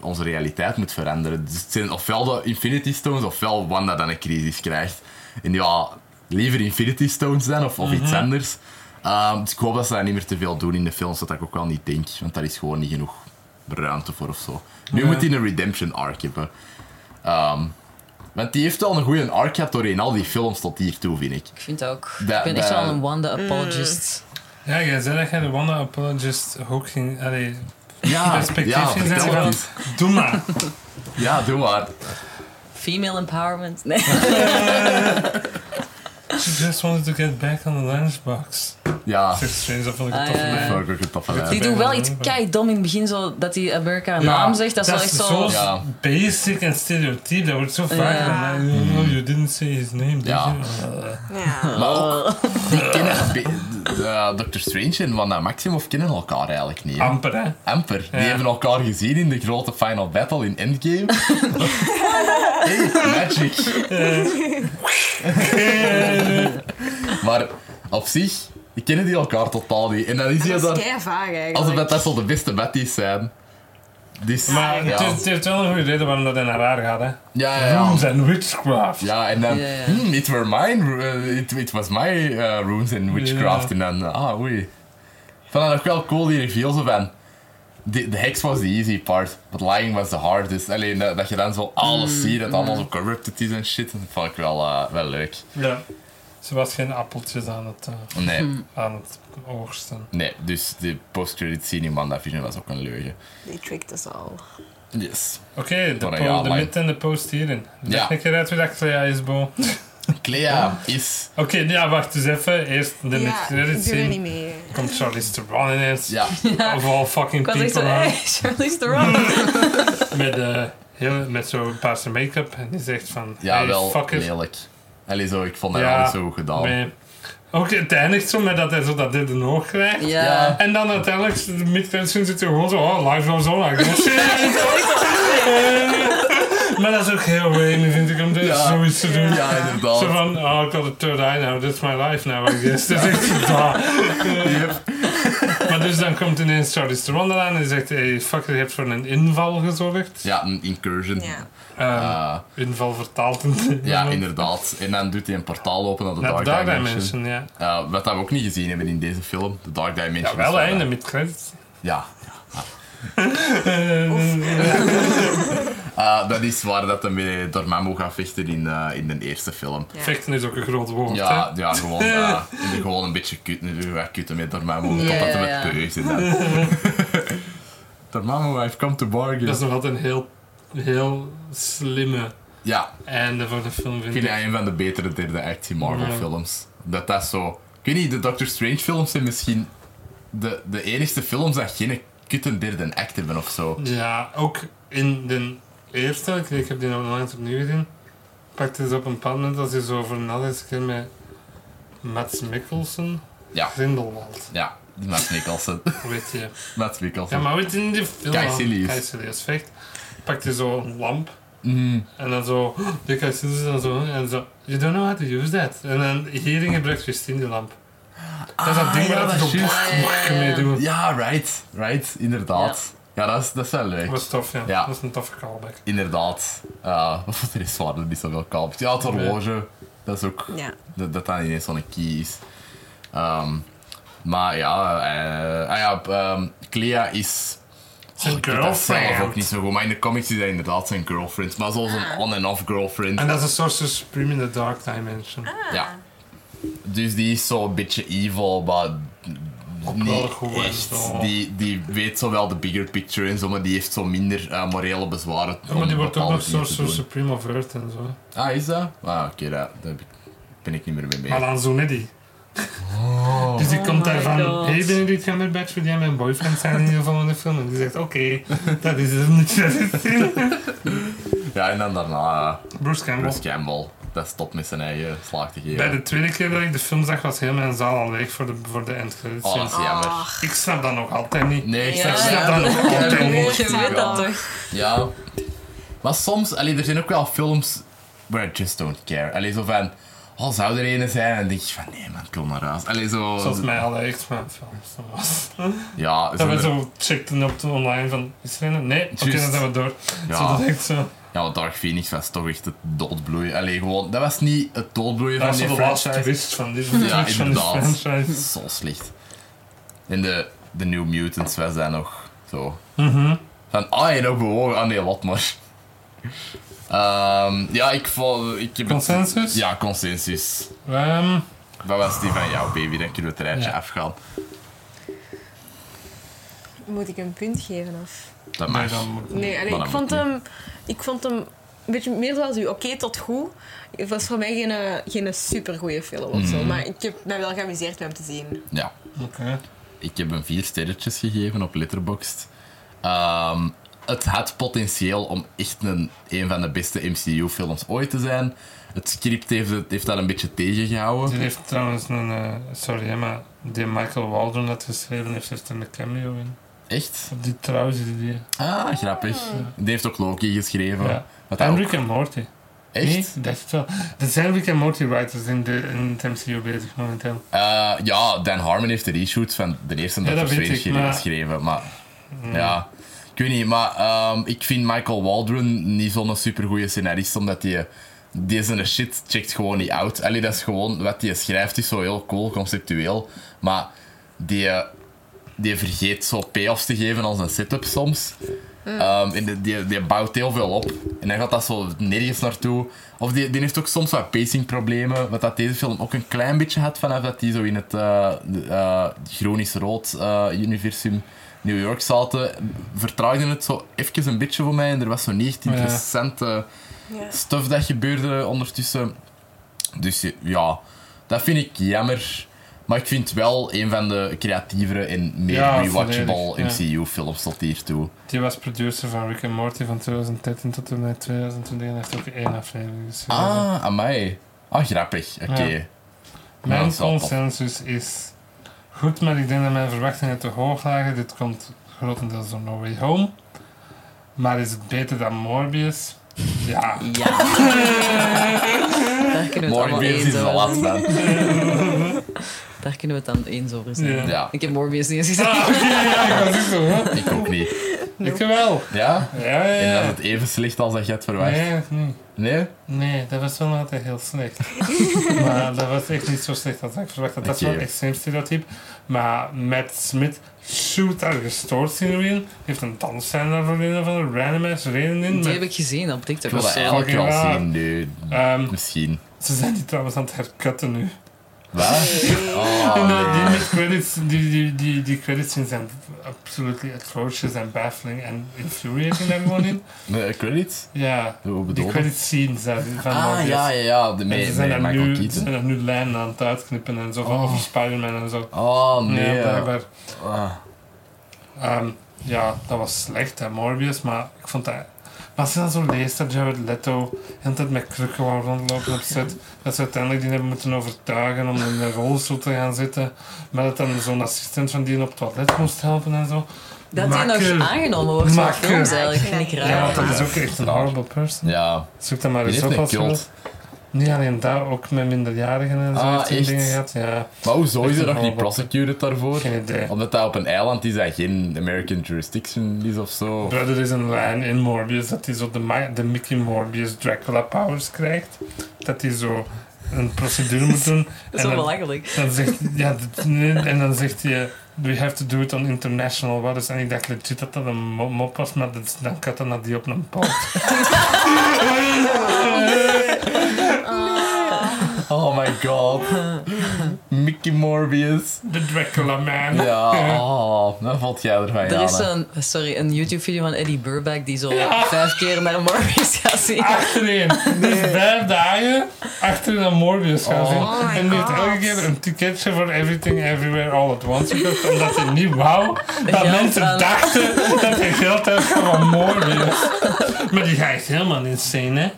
Onze realiteit moet veranderen. Dus het zijn ofwel de Infinity Stones, ofwel Wanda dan een crisis krijgt. En ja, liever Infinity Stones dan, of, of iets anders. Ehm, dus ik hoop dat ze dat niet meer te veel doen in de films, wat ik ook wel niet denk. Want daar is gewoon niet genoeg ruimte voor of zo. Nu Nee. moet hij een redemption arc hebben. Ehm, want die heeft wel een goede arc gehad doorheen al die films tot hiertoe, vind ik. Ik vind dat ook. Dat- ik ben echt dat- wel een Mm. Wanda-apologist. Ja, jij zei dat jij de Wanda Apologist hoek ging... Allee, Ja, perspectief ja, ging vertel zetten van, het eens. Doe maar. Ja, doe maar. Female empowerment. Nee. She just wanted to get back on the lunchbox. Ja, Six Strange, dat vond ik Ah, een toffe ja, ja. lijn. dat ik ook tof aan. Die ben doen wel wel iets een- keidom in het begin, zo dat die Amerika haar Ja, naam zegt. Dat is wel echt zo... Ja. basic en stereotyp. Dat wordt zo vaak Ja. Mm. gedaan. You, know, you didn't say his name, did Ja. you? Uh, Ja. Maar Oh. ook, die kennen be- de- de- Dr. Strange en Wanda Maximoff kennen elkaar eigenlijk niet. hè. amper, hè? Amper. Die Ja. hebben elkaar gezien in de grote final battle in Endgame. hey, magic. maar op zich, die kennen die elkaar totaal niet. En dan is hij Dat is daar... kei vaag eigenlijk. Alsof dat, dat zo de beste matties zijn. Dus, Maar ja. het, heeft, het heeft wel een goede reden waarom dat in haar haar gaat, hè? Ja, ja, ja. Rooms and witchcraft. Ja, en dan... Ja, ja. hmm, it were mine... uh, it, it was my uh, runes in witchcraft. Ja. En dan... Ah, oei. Ik vond dat nog wel cool, die reveal zo van... The, the Hex was the easy part, but lying was the hardest. Alleen dat, dat je dan zo alles ziet, dat allemaal zo corrupted is en shit, dat vond ik wel, eh, wel leuk. Ja. Ze was geen appeltjes aan het, eh, Nee, aan het oogsten. nee, dus de post-credit scene in WandaVision was ook een leugen. They tricked us all. Yes. Oké, de, Maar po- dan ja, de lang. mid en de post hierin. Leg Ja. een keer uit wie dat Clea is, Bo. Oké, Clea is... ja, wacht eens even. Eerst de ja, mid-credits ik doe er niet scene. mee. Komt Charlize Theron ineens. Ja, Of all fucking Ik was echt zo, people aan. hey, Charlize Theron. Met, eh, heel, met zo'n paarse make-up. En die zegt van, ja hey, wel fuck it. lelijk. Allee, zo, ik vond dat Ja, wel zo goed gedaan. Nee. Ook het eindigt zo met dat hij zo dat dit een oog krijgt. Ja. En dan uiteindelijk, de mid-credits scene zit hij gewoon zo, oh, live goes on. like this. Eh, maar dat is ook heel weinig, vind ik, om dit Ja. zoiets te doen. Ja, inderdaad. Zo van, oh, ik had een third eye now, that's my life now, I guess. Dat is echt daar. Maar dus dan komt ineens Charlize Theron eraan en die zegt, hey, fuck, je hebt voor een inval gezorgd. Ja, een incursion. Ja. Ehm, Eh, inval vertaald in ja, inderdaad. En dan doet hij een portaal open naar de Naar de Dark, Dark Dimension. Dimension, ja. Eh, wat dat we ook niet gezien hebben in deze film. De Dark Dimension. Ja, is wel einde eh, met credits. Ja. Eh, dat is waar dat hij mee door Mambo gaat vechten in, eh, in de eerste film. Ja. Vechten is ook een groot woord, Ja, ja gewoon, eh, gewoon een beetje kut. Nu gaat kutten met Dormammu, Ja, totdat hij ja, met ja. peus is. dan. Dormammu, I've come to hè. Dat is bargain. nog altijd een heel, heel slimme Ja, einde voor de film, vind Ik ik. vind dat een van de betere derde actie Marvel films. Dat dat zo... Ik weet niet, de Doctor Strange films zijn misschien de, de enigste films dat geen kutte derde act hebben of zo. Ja, ook in de eerste, ik- ik heb die nog onlangs opnieuw gezien, pakte ze op een bepaald moment als je zo over na is, een keer met Mats Mikkelsen, Ja, Grindelwald, ja. Die Matt Mikkelsen. weet je. Matt Mikkelsen. Ja, maar weet je in die film... Kai Silius. Kai Silius vecht, pakte zo een lamp Mm, En dan zo, "Oh, de kasteel is dan zo, "Oh," en zo, you don't know how to use that. En dan hierin gebruikt Christine de lamp. Dat is dat ding Ah, ja, waar dat dat ze is zo juist. bak- bakken mee doen. ja, right. Right, inderdaad. Ja, dat, is, dat is wel Dat leuk. was tof, ja. Ja. Dat is een toffe callback. Inderdaad. Eh, Wat er is waar er niet zoveel kapt. Ja, het horloge. Dat is ook... Ja. Dat, dat dat ineens zo'n key is. Ehm, maar ja... eh, ah ja ehm, Clea is... Oh, Zijn Ik weet dat zelf ook girlfriend. niet zo goed, maar in de comics is hij inderdaad zijn girlfriend. Maar zoals een on- en off girlfriend. En dat is een Sorcerer's Supreme in the Dark Dimension. Ja. Dus die is zo een beetje evil, maar wel niet goed en echt. zo. Die, die weet zo wel de bigger picture en zo, maar die heeft zo minder eh, morele bezwaren. Ja, maar om die wordt ook bepaalde nog dingen te Sorcerer's doen. Supreme of Earth en zo. Ah, is dat? Ah, oké, daar daar heb ik- ben ik niet meer mee Maar bezig. dan zo niet die. Dus die Oh komt daar my van, God. hey Benedict Cumberbatch, wil jij mijn boyfriend zijn in ieder geval in de film? En die zegt, oké, dat is het niet. dat is het. Ja, en dan daarna eh, Bruce Campbell. Bruce Campbell. Dat stopt met zijn eigen slaag te Bij geven. de tweede keer dat ik de film zag, was heel mijn zaal al leeg voor de, voor de endcredits. Oh, dat is Dus jammer. Ik snap dat nog altijd niet. Nee, ik Ja, zeg Ik snap dat nog altijd niet. Je weet dat toch? Ja. Maar soms, allee, er zijn ook wel films where I just don't care. Allee, zo van, oh, zou er ene zijn? En dan denk je van, nee man, kom maar uit. Allee, zo... Zoals mij alle X-Men films. dat was. Ja, Dat zo- we zo checkten op de online van, is er een? Nee, oké, Juist. dan zijn we door. Ja. Zo dat echt zo. ja, maar Dark Phoenix was toch echt het doodbloeien. Allee, gewoon, dat was niet het doodbloeien Dat van is die zo de laatste franchise. twist van dit Ja, van die inderdaad. franchise. Zo slecht. En de, de New Mutants was dat nog zo. Mhm. Van, ah, je nog bewogen? Ah nee, wat maar. Ehm, ja, ik vond... Ik heb het- Consensus? Ja, consensus. Ehm, Wat was die van jou, baby? Dan kunnen we het rijtje Ja. afgaan. Moet ik een punt geven of? Dat nee, mag. dan moet ik- Nee, allee, Maar dat ik, vond moet hem, ik vond hem een beetje meer zoals u. Oké tot goed. Het was voor mij geen, eh, geen supergoeie film of Mm. zo. Maar ik heb mij wel geamuseerd met hem te zien. Ja. Oké. Ik heb hem vier sterretjes gegeven op Letterboxd. Ehm, het had potentieel om echt een, een van de beste MCU-films ooit te zijn. Het script heeft, het- heeft dat een beetje Die tegengehouden. heeft trouwens een, eh, sorry hè, maar die Michael Waldron dat geschreven heeft, heeft er een cameo in. Echt? Op die trouwens, die- die. Ah, grappig. Die heeft ook Loki geschreven. Ja. Wat hij En ook- Rick en Morty. Oh. Echt? Nee, dat is het wel. Er zijn Rick en Morty writers in, de, in het MCU bezig momenteel. Eh, ja, Dan Harmon heeft de reshoot van de eerste Ja, Doctor dat weet Strange ik, maar- Hmm. geschreven. Maar ja, ik weet niet. Maar ehm, ik vind Michael Waldron niet zo'n supergoeie scenarist, omdat die deze shit checkt gewoon niet out. Allee, dat is gewoon wat hij schrijft is zo heel cool, conceptueel. Maar die, die vergeet zo payoffs te geven als een sit-up soms. Ehm, en die, die, die bouwt heel veel op. En dan gaat dat zo nergens naartoe. Of die, die heeft ook soms wat pacingproblemen. Wat dat deze film ook een klein beetje had vanaf dat die zo in het eh, de, eh, chronisch-rood eh, universum New York zaten. Vertraagde het zo even een beetje voor mij. En er was zo niet echt Ja. interessante Ja. stuff dat gebeurde ondertussen. Dus ja, dat vind ik jammer. Maar ik vind wel een van de creatievere en meer Ja, rewatchable volledig, ja. MCU-films tot hiertoe. Die was producer van Rick and Morty van 2013 tot en met 2020 en heeft ook één aflevering geschreven. Ah, amai. Ah, grappig. Oké. Ja. Mijn Ja, dat is wel tof. consensus is goed, maar ik denk dat mijn verwachtingen te hoog lagen. Dit komt grotendeels door No Way Home. Maar is het beter dan Morbius? Ja. Ja. Daar kunnen we het allemaal Morbius eens is de over laatste. man. Daar kunnen we het dan eens over zijn. Ja. Ja, Ik heb Morbius niet eens gezien. Ah, oké, ja, ik was niet zo hoor. ik ook niet. Ik wel. Ja? Ja, ja, En dat ja. is het even slecht als dat je het verwacht. Nee? Eh. Nee, nee. Nee, dat was wel altijd heel slecht. maar dat was echt niet zo slecht als ik verwacht had. Dat is Oké. wel een extreem stereotype. Maar Matt Smith shoot daar gestoord scenery in. Heeft een dansscène daarvoor in, of een random ass reden Die in. met- heb ik gezien op Ik TikTok. wil of dat zo. eigenlijk wel raar. zien. Nee, Ehm, misschien. Ze zijn die trouwens aan het herkutten nu. Wat? En, Oh, eh, die, nee. met credits, die, die, die, die credits in zijn absolutely atrocious en baffling en infuriating daar gewoon in. De credits? Ja, Hoe die bedoel je? credits scenes daar van Ah, Morbius. ja, ja, ja. De En mee, ze mee zijn, daar Michael nu, ze Keaton. zijn daar nu lijnen aan het uitknippen en zo, van Oh. over Spider-Man en zo. Oh, nee. ja, Ja, Ah, blijkbaar. Ehm, ja, dat was slecht, hè, Morbius, maar ik vond dat... Maar als je dan zo leest dat Jared Leto de hele tijd met krukken wou rondlopen op set, dat ze uiteindelijk die hebben moeten overtuigen om in de rolstoel te gaan zitten, maar dat dan zo'n assistent van die op het toilet moest helpen en zo. Dat die Makker. nog aangenomen wordt voor Makker. films eigenlijk, vind ik Ja, raar. Ja, want dat is ook echt een horrible person. ja. Zoek dat maar die eens heeft op een als je wil. cult. Niet alleen daar, ook met minderjarigen en zo Ah, heeft hij echt? dingen gehad. Ja, Maar hoezo is Echt er nog een niet horrible- prosecuted daarvoor? geen idee. Omdat dat op een eiland is dat geen American jurisdiction is of zo. Bro, er is een lijn in Morbius dat hij zo de, Ma- de Mickey Morbius Dracula powers krijgt. Dat hij zo een procedure moet doen. Dat is en wel dan, belachelijk. dan zegt, ja, dit- nee, en dan zegt hij, eh, we have to do it on international waters. En ik dacht legit dat dat een mo- mop was, maar dat, dan kat dan had die op een poot. Oh my god. Mickey Morbius. De Dracula man. Ja, oh, dat valt jij ervan, Er is Jana. zo'n, sorry, een YouTube-video van Eddie Burback die zo vijf keer naar Morbius gaat zien. Ah. Achterin. Dus vijf dagen achterin aan Morbius gaan zien. Oh my en die heeft God. elke keer een ticketje voor Everything Everywhere All at Once gekocht. Omdat hij niet wou dat geld mensen aan- dachten dat hij geld had van Morbius. Maar die gaat echt helemaal insane, hè?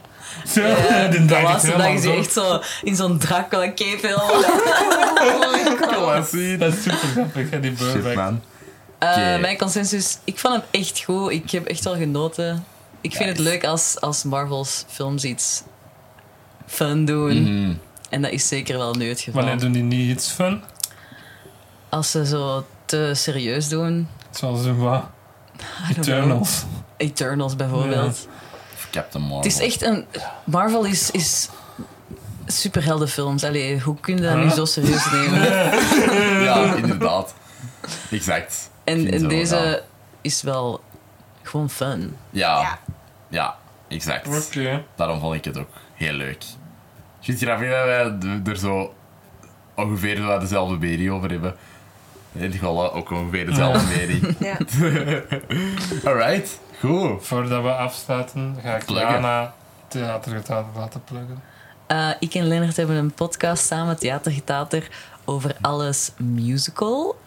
Zo, Ja, die de draait echt laatste dag helemaal is hij zo. echt zo in zo'n Dracula-cape heel- Klassie. Dat is super grappig, hè, die Shit, Burbank. man. Eh, Oké. Mijn consensus, ik vond hem echt goed. Ik heb echt wel genoten. Ik vind het Nice. leuk als, als Marvel's films iets fun doen. Mhm. En dat is zeker wel nu het geval. Wanneer doen die niet iets fun? Als ze zo te serieus doen. Zoals een wat? I don't know. Eternals. Eternals bijvoorbeeld. Of Captain Marvel. Het is echt een... Marvel is... is superheldenfilms. Allee, hoe kun je dat nu Huh? zo serieus nemen? Ja, inderdaad. Exact. En, Vind en zo, deze ja. is wel gewoon fun. Ja, Ja. ja, exact. Oké. Daarom vond ik het ook heel leuk. Ik vind het grappig dat wij d- er zo ongeveer wel dezelfde mening over hebben. In ieder geval eh, ook ongeveer dezelfde mening. Ja. Alright, goed. Voordat we afsluiten, ga ik Pluggen. Jana theatergetalen laten pluggen. Eh, ik en Lennart hebben een podcast samen, Theater Getater, over alles musical.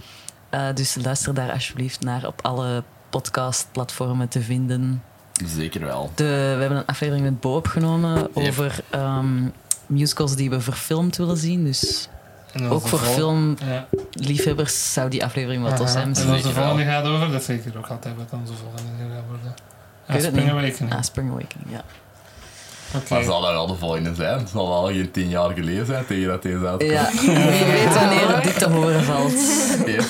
Eh, dus luister daar alsjeblieft naar op alle podcastplatformen te vinden. Zeker wel. De, we hebben een aflevering met Bo opgenomen over ehm, musicals die we verfilmd willen zien. Dus En ook onze voor vol- Ja. filmliefhebbers zou die aflevering wel tof zijn. En Misschien. Zeker onze wel. volgende gaat over, dat zeg ik er ook altijd wat onze volgende gaat worden. weet En het Spring niet. Awakening. Ah, Spring Awakening, ja. Maar Oké. zal dat wel de volgende zijn? Het zal wel geen tien jaar geleden zijn tegen dat deze uitkomt. Ja, wie weet wanneer dit te horen valt. Yep.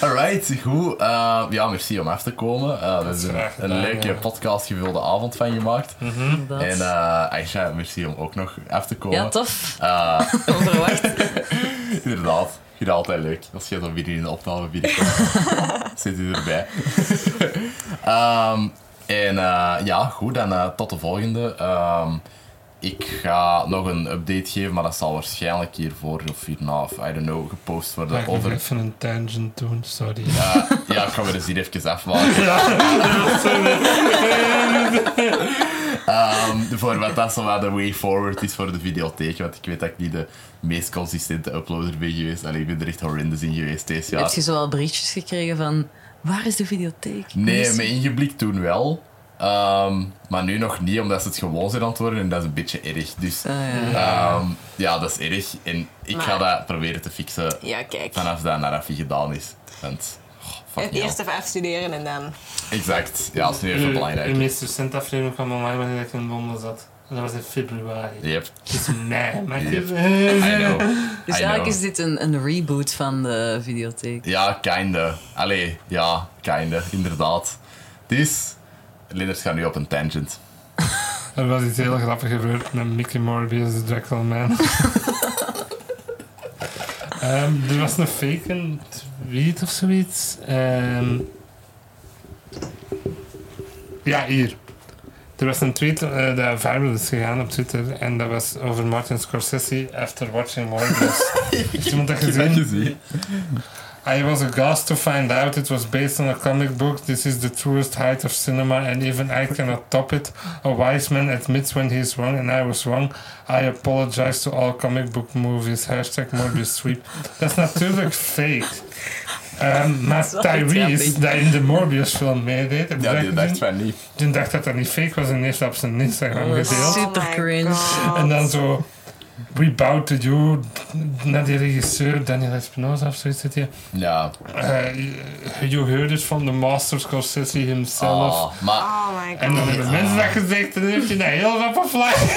Alright, goed. Eh, ja, merci om af te komen. Eh, we hebben graag er een gedaan, leuke ja. podcastgevulde avond van gemaakt. Inderdaad. En eh Aisha, merci om ook nog af te komen. ja, tof. Eh, Onverwacht. inderdaad. vind het altijd leuk. Als je dan weer in de opname binnenkomt, zit hij erbij. Ehm, en eh, ja, goed, dan eh, tot de volgende. Ehm, ik ga nog een update geven, maar dat zal waarschijnlijk hiervoor of hierna, of I don't know, gepost Maar worden. ik moet Over, even een tangent doen, sorry. eh, ja, ik ga weer eens hier even afmaken. Ehm, voor wat dat zo wat de way forward is voor de videotheek. Want ik weet dat ik niet de meest consistente uploader ben geweest. En ik ben er echt horrendous in geweest deze Heb jaar. je zowel berichtjes gekregen van... Waar is de videotheek? Nee, Mis- mijn ingeblikt toen wel. Ehm, maar nu nog niet, omdat ze het gewoon zijn aan het worden. En dat is een beetje erg. Dus Ah, ja. ehm, ja, dat is erg. En ik ga Eh. Maar- dat proberen te fixen Ja, kijk. vanaf dat Narafi gedaan is. Want, oh, fuck Het me eerst even afstuderen en dan... al. Exact. Ja, dat is nu even De belangrijk. meest recente aflevering kwam online wanneer ik in Londen zat. En dat was in februari. Yep, Dus nee, maar Yep. I even... know. Dus I eigenlijk know. is dit een, een reboot van de videotheek. Ja, kinder. Allee, ja, kinder, inderdaad. Dus, Linders gaat nu op een tangent. Er was iets heel grappigs gebeurd met Mickey Morbius, de Dracula Man. Ehm, er was een fake tweet of zoiets. Ehm, ja, hier. Er was een tweet eh dat viral is gegaan op Twitter en dat was over Martin Scorsese after watching Morbius. Heeft iemand dat gezien? I was aghast to find out it was based on a comic book. This is the truest height of cinema, and even I cannot top it. A wise man admits when he's wrong, and I was wrong. I apologize to all comic book movies. Hashtag Morbius Sweep. Dat is natuurlijk fake. Ehm, maar is wel Tyrese, grappig. die in de Morbius film meedeed, heb je Ja, dat die dacht gezien? van niet. die dacht dat dat niet fake was en heeft dat op zijn Instagram Oh, gedeeld. shit. Super my cringe. God. En dan zo, we bow to you, naar die regisseur Daniel Espinosa of zoiets zit hier. Ja. Uh, you heard it from the master Scorsese himself. Ah, maar Oh my En dan god. hebben mensen dat gezegd en dan heeft hij dat heel rap op fly.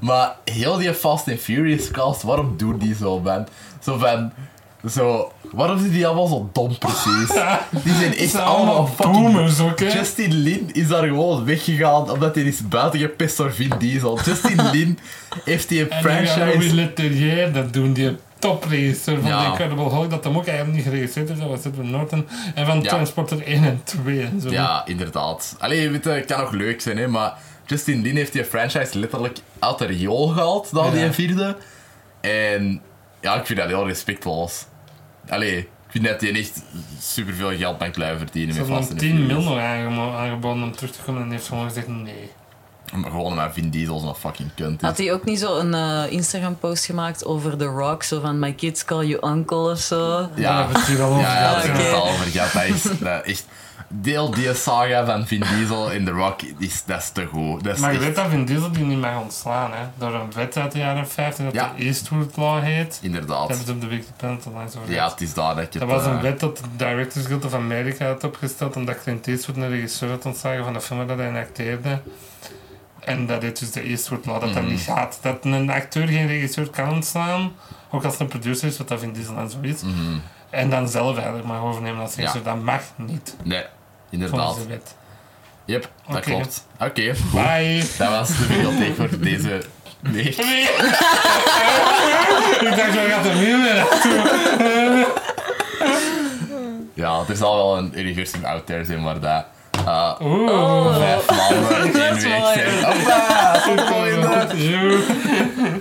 Maar heel die Fast and Furious cast, waarom doen die zo, man? Zo van... Zo... Waarom zijn die allemaal zo dom, precies? Die zijn echt allemaal fucking... boomers, oké? Justin Lin is daar gewoon weggegaan, omdat hij is buiten gepest door Vin Diesel. Justin Lin heeft die En dan gaan Louis franchise... Leterrier, dat doen die topregisseur van Ja. The Incredible Hulk, dat hem ook eigenlijk niet geregisseerd heeft, dat was Edward Norton. En van Ja. Transporter 1 en 2 en zo. Ja, inderdaad. Allee, weet je, het kan nog leuk zijn, hè, maar Justin Lin heeft die franchise letterlijk uit de riool gehaald, na Ja. die vierde. En ja, ik vind dat heel respectloos. Allee, ik vind dat hij echt superveel geld mag blijven verdienen Ze met hadden vast hem 10 mil nog aangemo- aangeboden om terug te komen en heeft gewoon gezegd nee. Maar gewoon omdat Vin Diesel zo'n fucking kunt is. Had hij ook niet zo een eh, Instagram-post gemaakt over The Rock? Zo van, my kids call you uncle of zo? Daar Ja, hebben we het hier al over ja, ja, dat oké. is gehad. het al over gehad. Dat is dat is echt... Deel die saga van Vin Diesel in The Rock, is, dat is te goed. Dat is Maar je echt- weet dat Vin Diesel die niet mag ontslaan, hè? Door een wet uit de jaren 50 dat Ja. de Eastwood Law heet. Inderdaad. Daar hebben ze op de Wikipedia langs over Ja, gehad. het is daar dat je Dat het, was een eh, wet dat de Directors Guild of America had opgesteld omdat Clint Eastwood een regisseur had ontslagen van de film dat hij acteerde. En dat is dus de Eastwood Law, dat Mhm. dat niet gaat. Dat een acteur geen regisseur kan ontslaan, ook als het een producer is, wat dat Vin Diesel en zo is. Mhm. En dan zelf eigenlijk mag overnemen als regisseur. Dat mag niet, Nee, volgens inderdaad. de wet. Yep, dat Oké. klopt. Oké, goed. Bye! Dat was de videotheek voor deze week. Ik dacht, waar gaat de muur weer naartoe? Ja, er zal wel een universum out there zijn waar dat eh, Oeh. vijf maanden in één Dat is week Oh, mooi. zijn. Hoppa, goed Goed, volgende. joe.